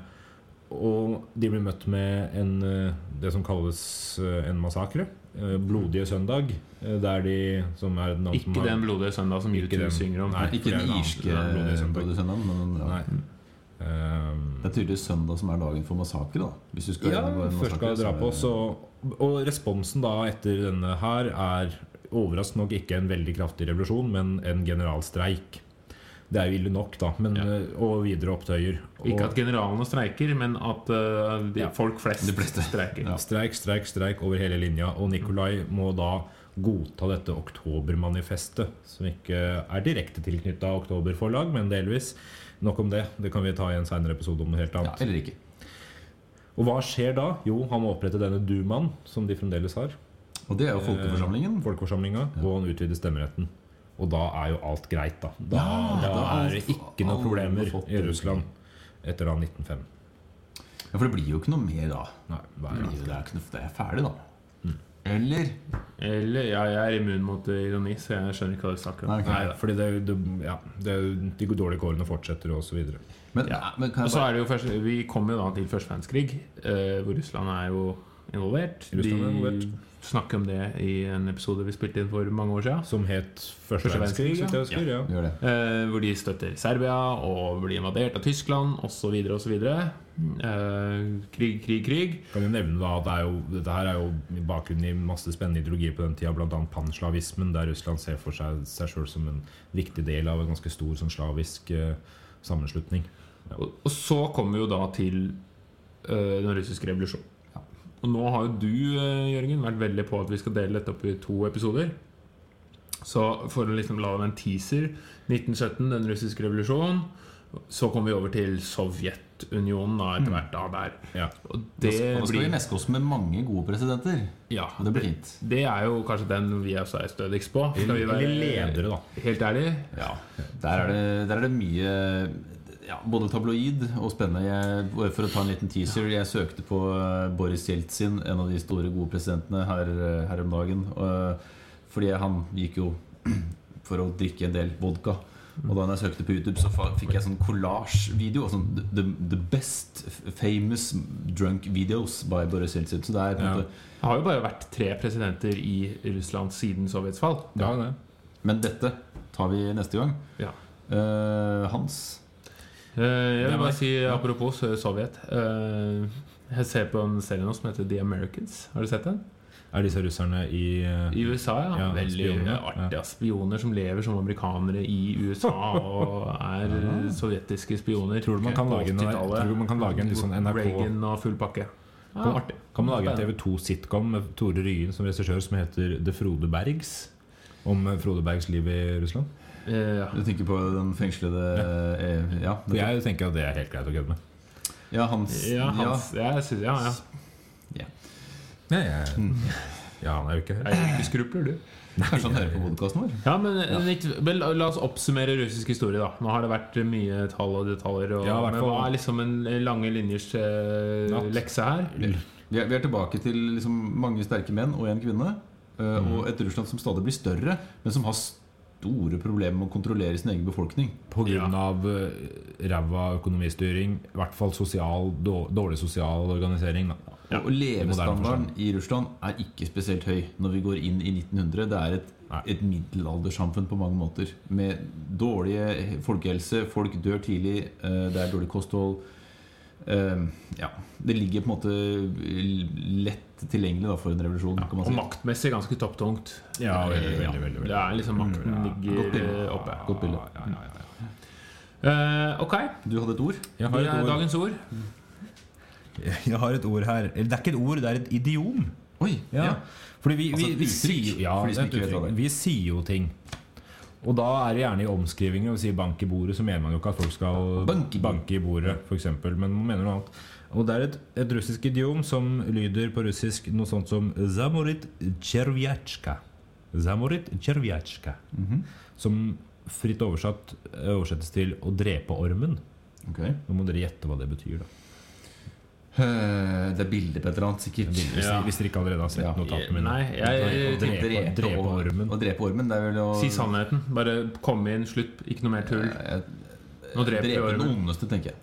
Speaker 4: og de ble møtt med en, eh, det som kalles eh, en massakre. Eh, blodige søndag, eh, der de som er et navn som
Speaker 1: Ikke
Speaker 4: har-
Speaker 1: den blodige søndag som
Speaker 4: Ikke
Speaker 1: YouTube
Speaker 4: den.
Speaker 1: synger om.
Speaker 4: Nei.
Speaker 5: Ikke
Speaker 4: det er
Speaker 5: den
Speaker 4: en annen- det
Speaker 5: irske
Speaker 4: er en blodig søndag.
Speaker 5: produsenten, men ja.
Speaker 4: Nei. Eh,
Speaker 5: Det er tydeligvis søndag som er dagen for massakre, da. Hvis du skal
Speaker 4: Ja,
Speaker 5: gjennomgå en
Speaker 4: først skal
Speaker 5: massakre,
Speaker 4: jeg dra
Speaker 5: så er
Speaker 4: på.
Speaker 5: det-
Speaker 4: Så, og responsen da etter denne her er overraskende nok ikke en veldig kraftig revolusjon, men en generalstreik. Det er jo ille nok, da. Men,
Speaker 1: Ja.
Speaker 4: eh, Og videre opptøyer. Og
Speaker 1: Ikke at generalene streiker, men at eh, de,
Speaker 4: Ja.
Speaker 1: folk flest
Speaker 5: De fleste.
Speaker 1: streiker.
Speaker 5: Ja.
Speaker 4: streik, streik, streik over hele linja. Og Nikolai må da godta dette oktobermanifestet, som ikke er direkte tilknytta Oktoberforlag, men delvis. Nok om det. Det kan vi ta i en seinere episode om noe helt
Speaker 5: ja,
Speaker 4: annet.
Speaker 5: Eller ikke.
Speaker 4: Og hva skjer da? Jo, han må opprette denne dumaen, som de fremdeles har.
Speaker 5: Og det er
Speaker 4: Eh,
Speaker 5: jo folkeforsamlingen.
Speaker 4: Folkeforsamlinga, og han utvider stemmeretten. Og da er jo alt greit, da. Da, da
Speaker 5: Ja, da
Speaker 4: er det
Speaker 5: har
Speaker 4: ikke noen
Speaker 5: alle
Speaker 4: problemer
Speaker 5: fått
Speaker 4: i
Speaker 5: det.
Speaker 4: Russland etter da 1905.
Speaker 5: Ja, For det blir jo ikke noe mer da.
Speaker 4: Nei, hva
Speaker 5: Det
Speaker 4: er
Speaker 5: blir
Speaker 4: det?
Speaker 5: jo- det er, ikke noe, det er ferdig, da. Mm. Eller
Speaker 1: Eller ja, jeg er immun mot ironi, så jeg skjønner ikke hva du snakker om.
Speaker 5: Nei, ok.
Speaker 4: Nei, fordi det, er jo- det, ja, det, er jo- de dårlige kårene fortsetter, og så videre.
Speaker 5: Men, men kan
Speaker 1: Og
Speaker 5: jeg
Speaker 1: så
Speaker 5: bare
Speaker 1: er det jo først, Vi kommer jo da til første verdenskrig, eh, hvor Russland er jo involvert.
Speaker 4: Russland er involvert.
Speaker 1: De snakker om det i en episode vi spilte inn for mange år siden.
Speaker 4: Som het første
Speaker 1: Første
Speaker 4: verdenskrig, så vidt jeg husker. Ja.
Speaker 5: Gjør det.
Speaker 1: Eh, hvor de støtter Serbia og blir invadert av Tyskland osv. osv. Eh, krig, krig, krig.
Speaker 4: Kan jo nevne da at det er jo, dette her er jo i bakgrunnen i masse spennende ideologier på den tida, bl.a. panslavismen, der Russland ser for seg seg sjøl som en viktig del av en ganske stor sånn slavisk eh, sammenslutning.
Speaker 1: Og, og så kommer vi jo da til eh, den russiske revolusjonen. Og nå har jo du, eh, Jørgen, vært veldig på at vi skal dele dette opp i to episoder. Så for å liksom la dem en teaser 1917, den russiske revolusjonen. Så kommer vi over til Sovjetunionen da etter hvert. da der
Speaker 4: Ja.
Speaker 1: Og det
Speaker 5: Og da Mm. skal vi
Speaker 1: Eh, blir
Speaker 5: meske oss med mange gode presidenter.
Speaker 1: ja,
Speaker 5: Og det blir fint.
Speaker 1: Det er jo kanskje den vi også er stødigst på. Skal vi
Speaker 4: Eller
Speaker 1: være
Speaker 4: ledere, da.
Speaker 1: helt ærlig?
Speaker 5: Ja, der er det, der er det mye ja, både tabloid og spennende. Jeg, for å ta en liten teaser Jeg søkte på eh, Boris Jeltsin, en av de store gode presidentene her, eh, her om dagen. og- Fordi han gikk jo for å drikke en del vodka. Og da jeg søkte på YouTube, så fa- fikk jeg sånn collage-video. Sånn, the- the, the best famous drunk videos by Boris Jeltsin. Så det er på en
Speaker 4: Ja.
Speaker 5: måte
Speaker 1: Det har jo bare vært tre presidenter i Russland siden Sovjets fall.
Speaker 4: Ja, det.
Speaker 5: Men dette tar vi neste gang.
Speaker 1: Ja.
Speaker 5: Eh, Hans,
Speaker 1: Eh, Jeg
Speaker 4: Det er
Speaker 1: vil
Speaker 4: meg.
Speaker 1: bare si apropos eh, Sovjet. eh, Jeg ser på en serie nå som heter The Americans. Har du sett den?
Speaker 4: Er disse russerne i eh,
Speaker 1: I USA, ja.
Speaker 4: Ja,
Speaker 1: Veldig
Speaker 4: spioner.
Speaker 1: artig. ass. Spioner som lever som amerikanere i USA og er eh, sovjetiske spioner.
Speaker 4: Tror du man
Speaker 1: Ok.
Speaker 4: kan
Speaker 1: På
Speaker 4: lage en-
Speaker 1: 80-tallet.
Speaker 4: tror du man kan lage en litt sånn NRK
Speaker 1: Reagan og full pakke. Ja, artig.
Speaker 4: Kan man lage en TV2-sitcom med Tore Ryen som regissør som heter Det Frode Bergs? Om eh, Frode Bergs liv i Russland?
Speaker 1: Eh, ja.
Speaker 5: du tenker på den fengslede eh, Ja,
Speaker 4: For jeg tenker at det er helt greit å kødde med.
Speaker 5: Ja, Hans.
Speaker 1: Ja, Hans, Jeg synes, ja, ja.
Speaker 4: Ja, ja. Mm. ja, han er jo ikke
Speaker 1: Jeg gjør ikke skrupler, du.
Speaker 5: Ja, Kanskje han hører på podkasten vår?
Speaker 1: Ja, men, eh, litt- vel, La oss oppsummere russisk historie. da Nå har det vært mye tall og detaljer. Og,
Speaker 4: Ja, i hvert
Speaker 1: men
Speaker 4: fall.
Speaker 1: hva er liksom en lange linjers eh,
Speaker 4: Natt.
Speaker 1: lekse her?
Speaker 5: Vi er, vi er tilbake til liksom mange sterke menn og en kvinne. eh, Og et Russland som stadig blir større, men som har store problemer med å kontrollere sin egen befolkning.
Speaker 4: Pga. Ja. eh, ræva økonomistyring, i hvert fall sosial, dår- dårlig sosial organisering. Da.
Speaker 5: Og- og levestandarden i Russland er ikke spesielt høy når vi går inn i 1900. Det er et,
Speaker 4: Nei.
Speaker 5: et middelaldersamfunn på mange måter. Med dårlige folkehelse, folk dør tidlig, eh, det er dårlig kosthold. Eh, ja, det ligger på en måte lett tilgjengelig da, for en revolusjon. kan
Speaker 1: Og
Speaker 5: man si.
Speaker 1: maktmessig ganske topptungt.
Speaker 4: Ja, veldig,
Speaker 5: Ja.
Speaker 4: veldig, veldig,
Speaker 1: Det
Speaker 4: veldig.
Speaker 1: er liksom
Speaker 4: Mm,
Speaker 1: makten
Speaker 5: Godt
Speaker 1: ligger
Speaker 5: bilde.
Speaker 1: eh, oppe.
Speaker 5: Godt bilde.
Speaker 4: Ja, ja, ja, ja.
Speaker 1: Eh, ok,
Speaker 5: Du hadde et ord?
Speaker 4: Jeg
Speaker 1: det
Speaker 4: har
Speaker 1: er
Speaker 4: et ord.
Speaker 1: dagens ord.
Speaker 4: Jeg har et ord her. Eller det er ikke et ord, det er et idiom.
Speaker 5: Oi!
Speaker 4: Ja.
Speaker 5: ja.
Speaker 4: Fordi vi,
Speaker 5: Altså
Speaker 4: vi,
Speaker 5: et
Speaker 4: vi,
Speaker 5: uttrykk,
Speaker 4: sier, ja,
Speaker 5: for de som
Speaker 4: et
Speaker 5: ikke vet hva det
Speaker 4: uttrykk.
Speaker 5: er.
Speaker 4: vi sier jo ting. Og da er det gjerne i omskrivinger. Og sier 'bank i bordet', så mener man jo ikke at folk skal
Speaker 5: Bank i bordet.
Speaker 4: banke i bordet, f.eks. Men man mener noe annet. Og det er et, et russisk idiom som lyder på russisk noe sånt som 'zamorit chervjatsjka'. Zamorit chervjatsjka.
Speaker 5: Mhm.
Speaker 4: Som fritt oversatt eh, oversettes til 'å drepe ormen'.
Speaker 5: Ok.
Speaker 4: Nå må dere gjette hva det betyr, da.
Speaker 5: Eh, Det er bilde på et eller annet, sikkert.
Speaker 4: Hvis,
Speaker 1: Ja.
Speaker 4: hvis dere ikke allerede har sett
Speaker 5: Ja.
Speaker 4: notatene mine.
Speaker 1: Nei, jeg,
Speaker 4: Å drepe, drepe ormen.
Speaker 5: Å drepe ormen, det er vel å
Speaker 1: Si sannheten. Bare kom inn, slutt. Ikke noe mer tull.
Speaker 5: Eh,
Speaker 1: Nå dreper vi
Speaker 5: Drepe den
Speaker 1: ormen.
Speaker 5: ondeste, tenker jeg.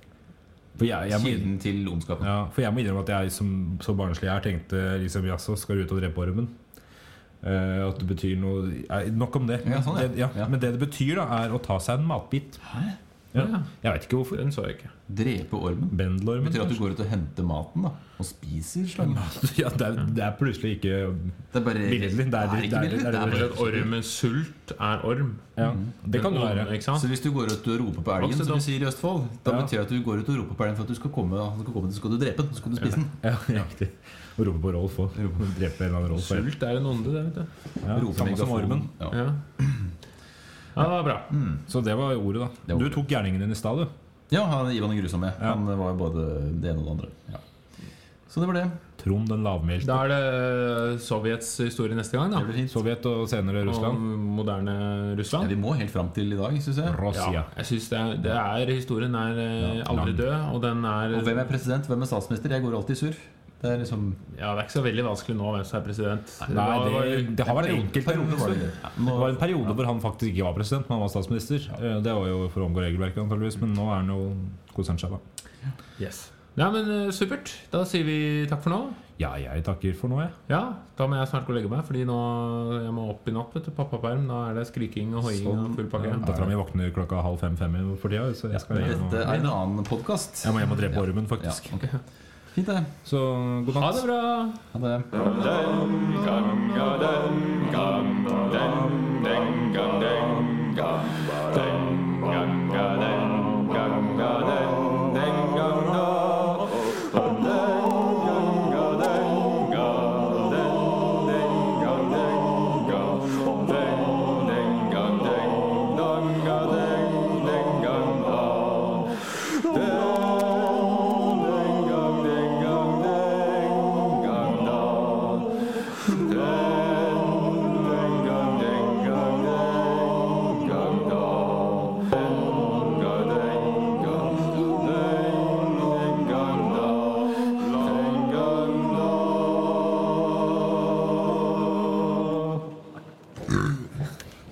Speaker 4: For jeg, jeg, må,
Speaker 5: Kilden til ondskapen.
Speaker 4: Ja, for jeg må innrømme at jeg som så barnslig jeg er, tenkte liksom jaså, skal du ut og drepe ormen? Eh, at det betyr noe Nei, Nok om det.
Speaker 5: Ja, sånn, ja.
Speaker 4: Det, ja.
Speaker 5: Ja.
Speaker 4: Men det det betyr, da, er å ta seg en matbit.
Speaker 5: Hæ?
Speaker 4: Ja.
Speaker 1: Ja.
Speaker 4: Jeg vvet ikke hvorfor.
Speaker 1: Den så jeg ikke.
Speaker 5: Drepe ormen?
Speaker 4: Bendelormen?
Speaker 5: Betyr at du
Speaker 4: kanskje?
Speaker 5: går ut og henter maten da og spiser slangen?
Speaker 4: ja, det, er, det er plutselig ikke
Speaker 5: Det er bare
Speaker 4: Billedlig, det er-
Speaker 5: Nei, ikke
Speaker 4: det er-
Speaker 5: billedlig,
Speaker 4: det er-
Speaker 5: det er
Speaker 1: Bare
Speaker 5: bare-
Speaker 1: at orm med sult er orm.
Speaker 4: ja, Det kan
Speaker 1: Men orm,
Speaker 4: det være.
Speaker 1: Ikke sant?
Speaker 5: Så hvis du går ut og roper på elgen,
Speaker 1: Vokse
Speaker 5: som
Speaker 1: dom.
Speaker 5: vi sier i Østfold, da
Speaker 4: Ja.
Speaker 5: betyr det at du går ut og roper på elgen for at du skal komme, han skal komme, så skal du drepe den, så skal du spise den.
Speaker 4: Ja, riktig. Å rope på Rolf òg. Drepe en eller annen Rolf.
Speaker 1: Sult er en onde, det. vet du
Speaker 4: Ja,
Speaker 5: Rope
Speaker 4: samme som
Speaker 5: megafon.
Speaker 4: ormen.
Speaker 5: Ja.
Speaker 1: Ja, ja det var bra.
Speaker 4: Så det var ordet,
Speaker 5: Det
Speaker 4: da.
Speaker 5: var
Speaker 4: Du
Speaker 5: ordet.
Speaker 4: tok gjerningen din i stad, du.
Speaker 5: ja, han Ivan den grusomme.
Speaker 4: Ja.
Speaker 5: Han eh, var jo både det ene og det andre. Ja. Så det var det.
Speaker 4: Trond den lavmælte.
Speaker 1: Da er det eh, Sovjets historie neste gang.
Speaker 5: Det blir
Speaker 1: da
Speaker 5: fint.
Speaker 4: Sovjet og senere
Speaker 1: Om
Speaker 4: Russland.
Speaker 1: moderne
Speaker 5: Ja,
Speaker 1: Russland.
Speaker 5: vi må helt fram til i dag, syns jeg.
Speaker 4: Russia.
Speaker 1: Jeg synes det, er, det er Historien er eh, aldri
Speaker 4: lang.
Speaker 1: død, og den er
Speaker 5: Og hvem er president, hvem er statsminister? Jeg går alltid sur. Det er liksom
Speaker 1: Ja, Det er ikke så veldig vanskelig nå hvem som er president.
Speaker 4: Nei,
Speaker 1: Da var
Speaker 4: det, det har vært enkelt.
Speaker 5: Periode var det det. Ja,
Speaker 4: Det var
Speaker 5: nå-
Speaker 4: en periode hvor han faktisk ikke var president, men han var statsminister. Eh, Det var jo for å omgå regelverket, antageligvis, men nå er han jo konsernsjef. da.
Speaker 1: Yes. Nei, men eh, supert. Da sier vi takk for nå.
Speaker 4: Ja, jeg takker for nå, jeg.
Speaker 1: Ja, da må jeg snart gå og legge meg, Fordi nå jeg må opp i natt. vet du, Pappaperm. Da er det skriking og hoiing og full pakke.
Speaker 4: Dattera mi våkner klokka halv fem-fem for tida, så jeg skal hjem
Speaker 5: Dette
Speaker 4: og,
Speaker 5: er en annen podkast.
Speaker 4: jeg må hjem og drepe ormen,
Speaker 5: Ja,
Speaker 4: faktisk.
Speaker 5: ok. Fint, det.
Speaker 4: Så god
Speaker 1: Ha
Speaker 4: natt.
Speaker 1: det bra!
Speaker 5: Ha det.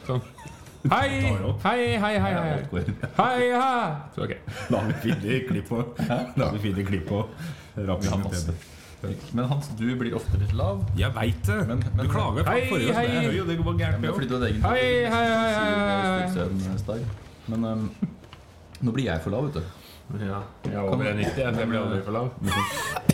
Speaker 1: Sånn. Hei! Hei, hei, hei! hei. Hei, hei! Så, ok.
Speaker 4: Da har vi fine klipp på. Da har vi fine klipp på. Rappingen til det.
Speaker 5: Men Hans, du blir ofte litt lav.
Speaker 4: altså. Jeg veit det!
Speaker 5: Men- men-
Speaker 4: du klager
Speaker 1: Hei,
Speaker 4: forrige gang.
Speaker 1: hei.
Speaker 4: Jeg hører jo det går gærent.
Speaker 5: Men
Speaker 4: det
Speaker 5: fordi
Speaker 4: også.
Speaker 5: du hadde egen
Speaker 1: Hei, hei, hei, hei, hei, hei.
Speaker 5: hei, Men um, nå blir jeg for lav, vet du.
Speaker 1: Ja. Jeg er over 90, jeg, så jeg blir aldri for lav.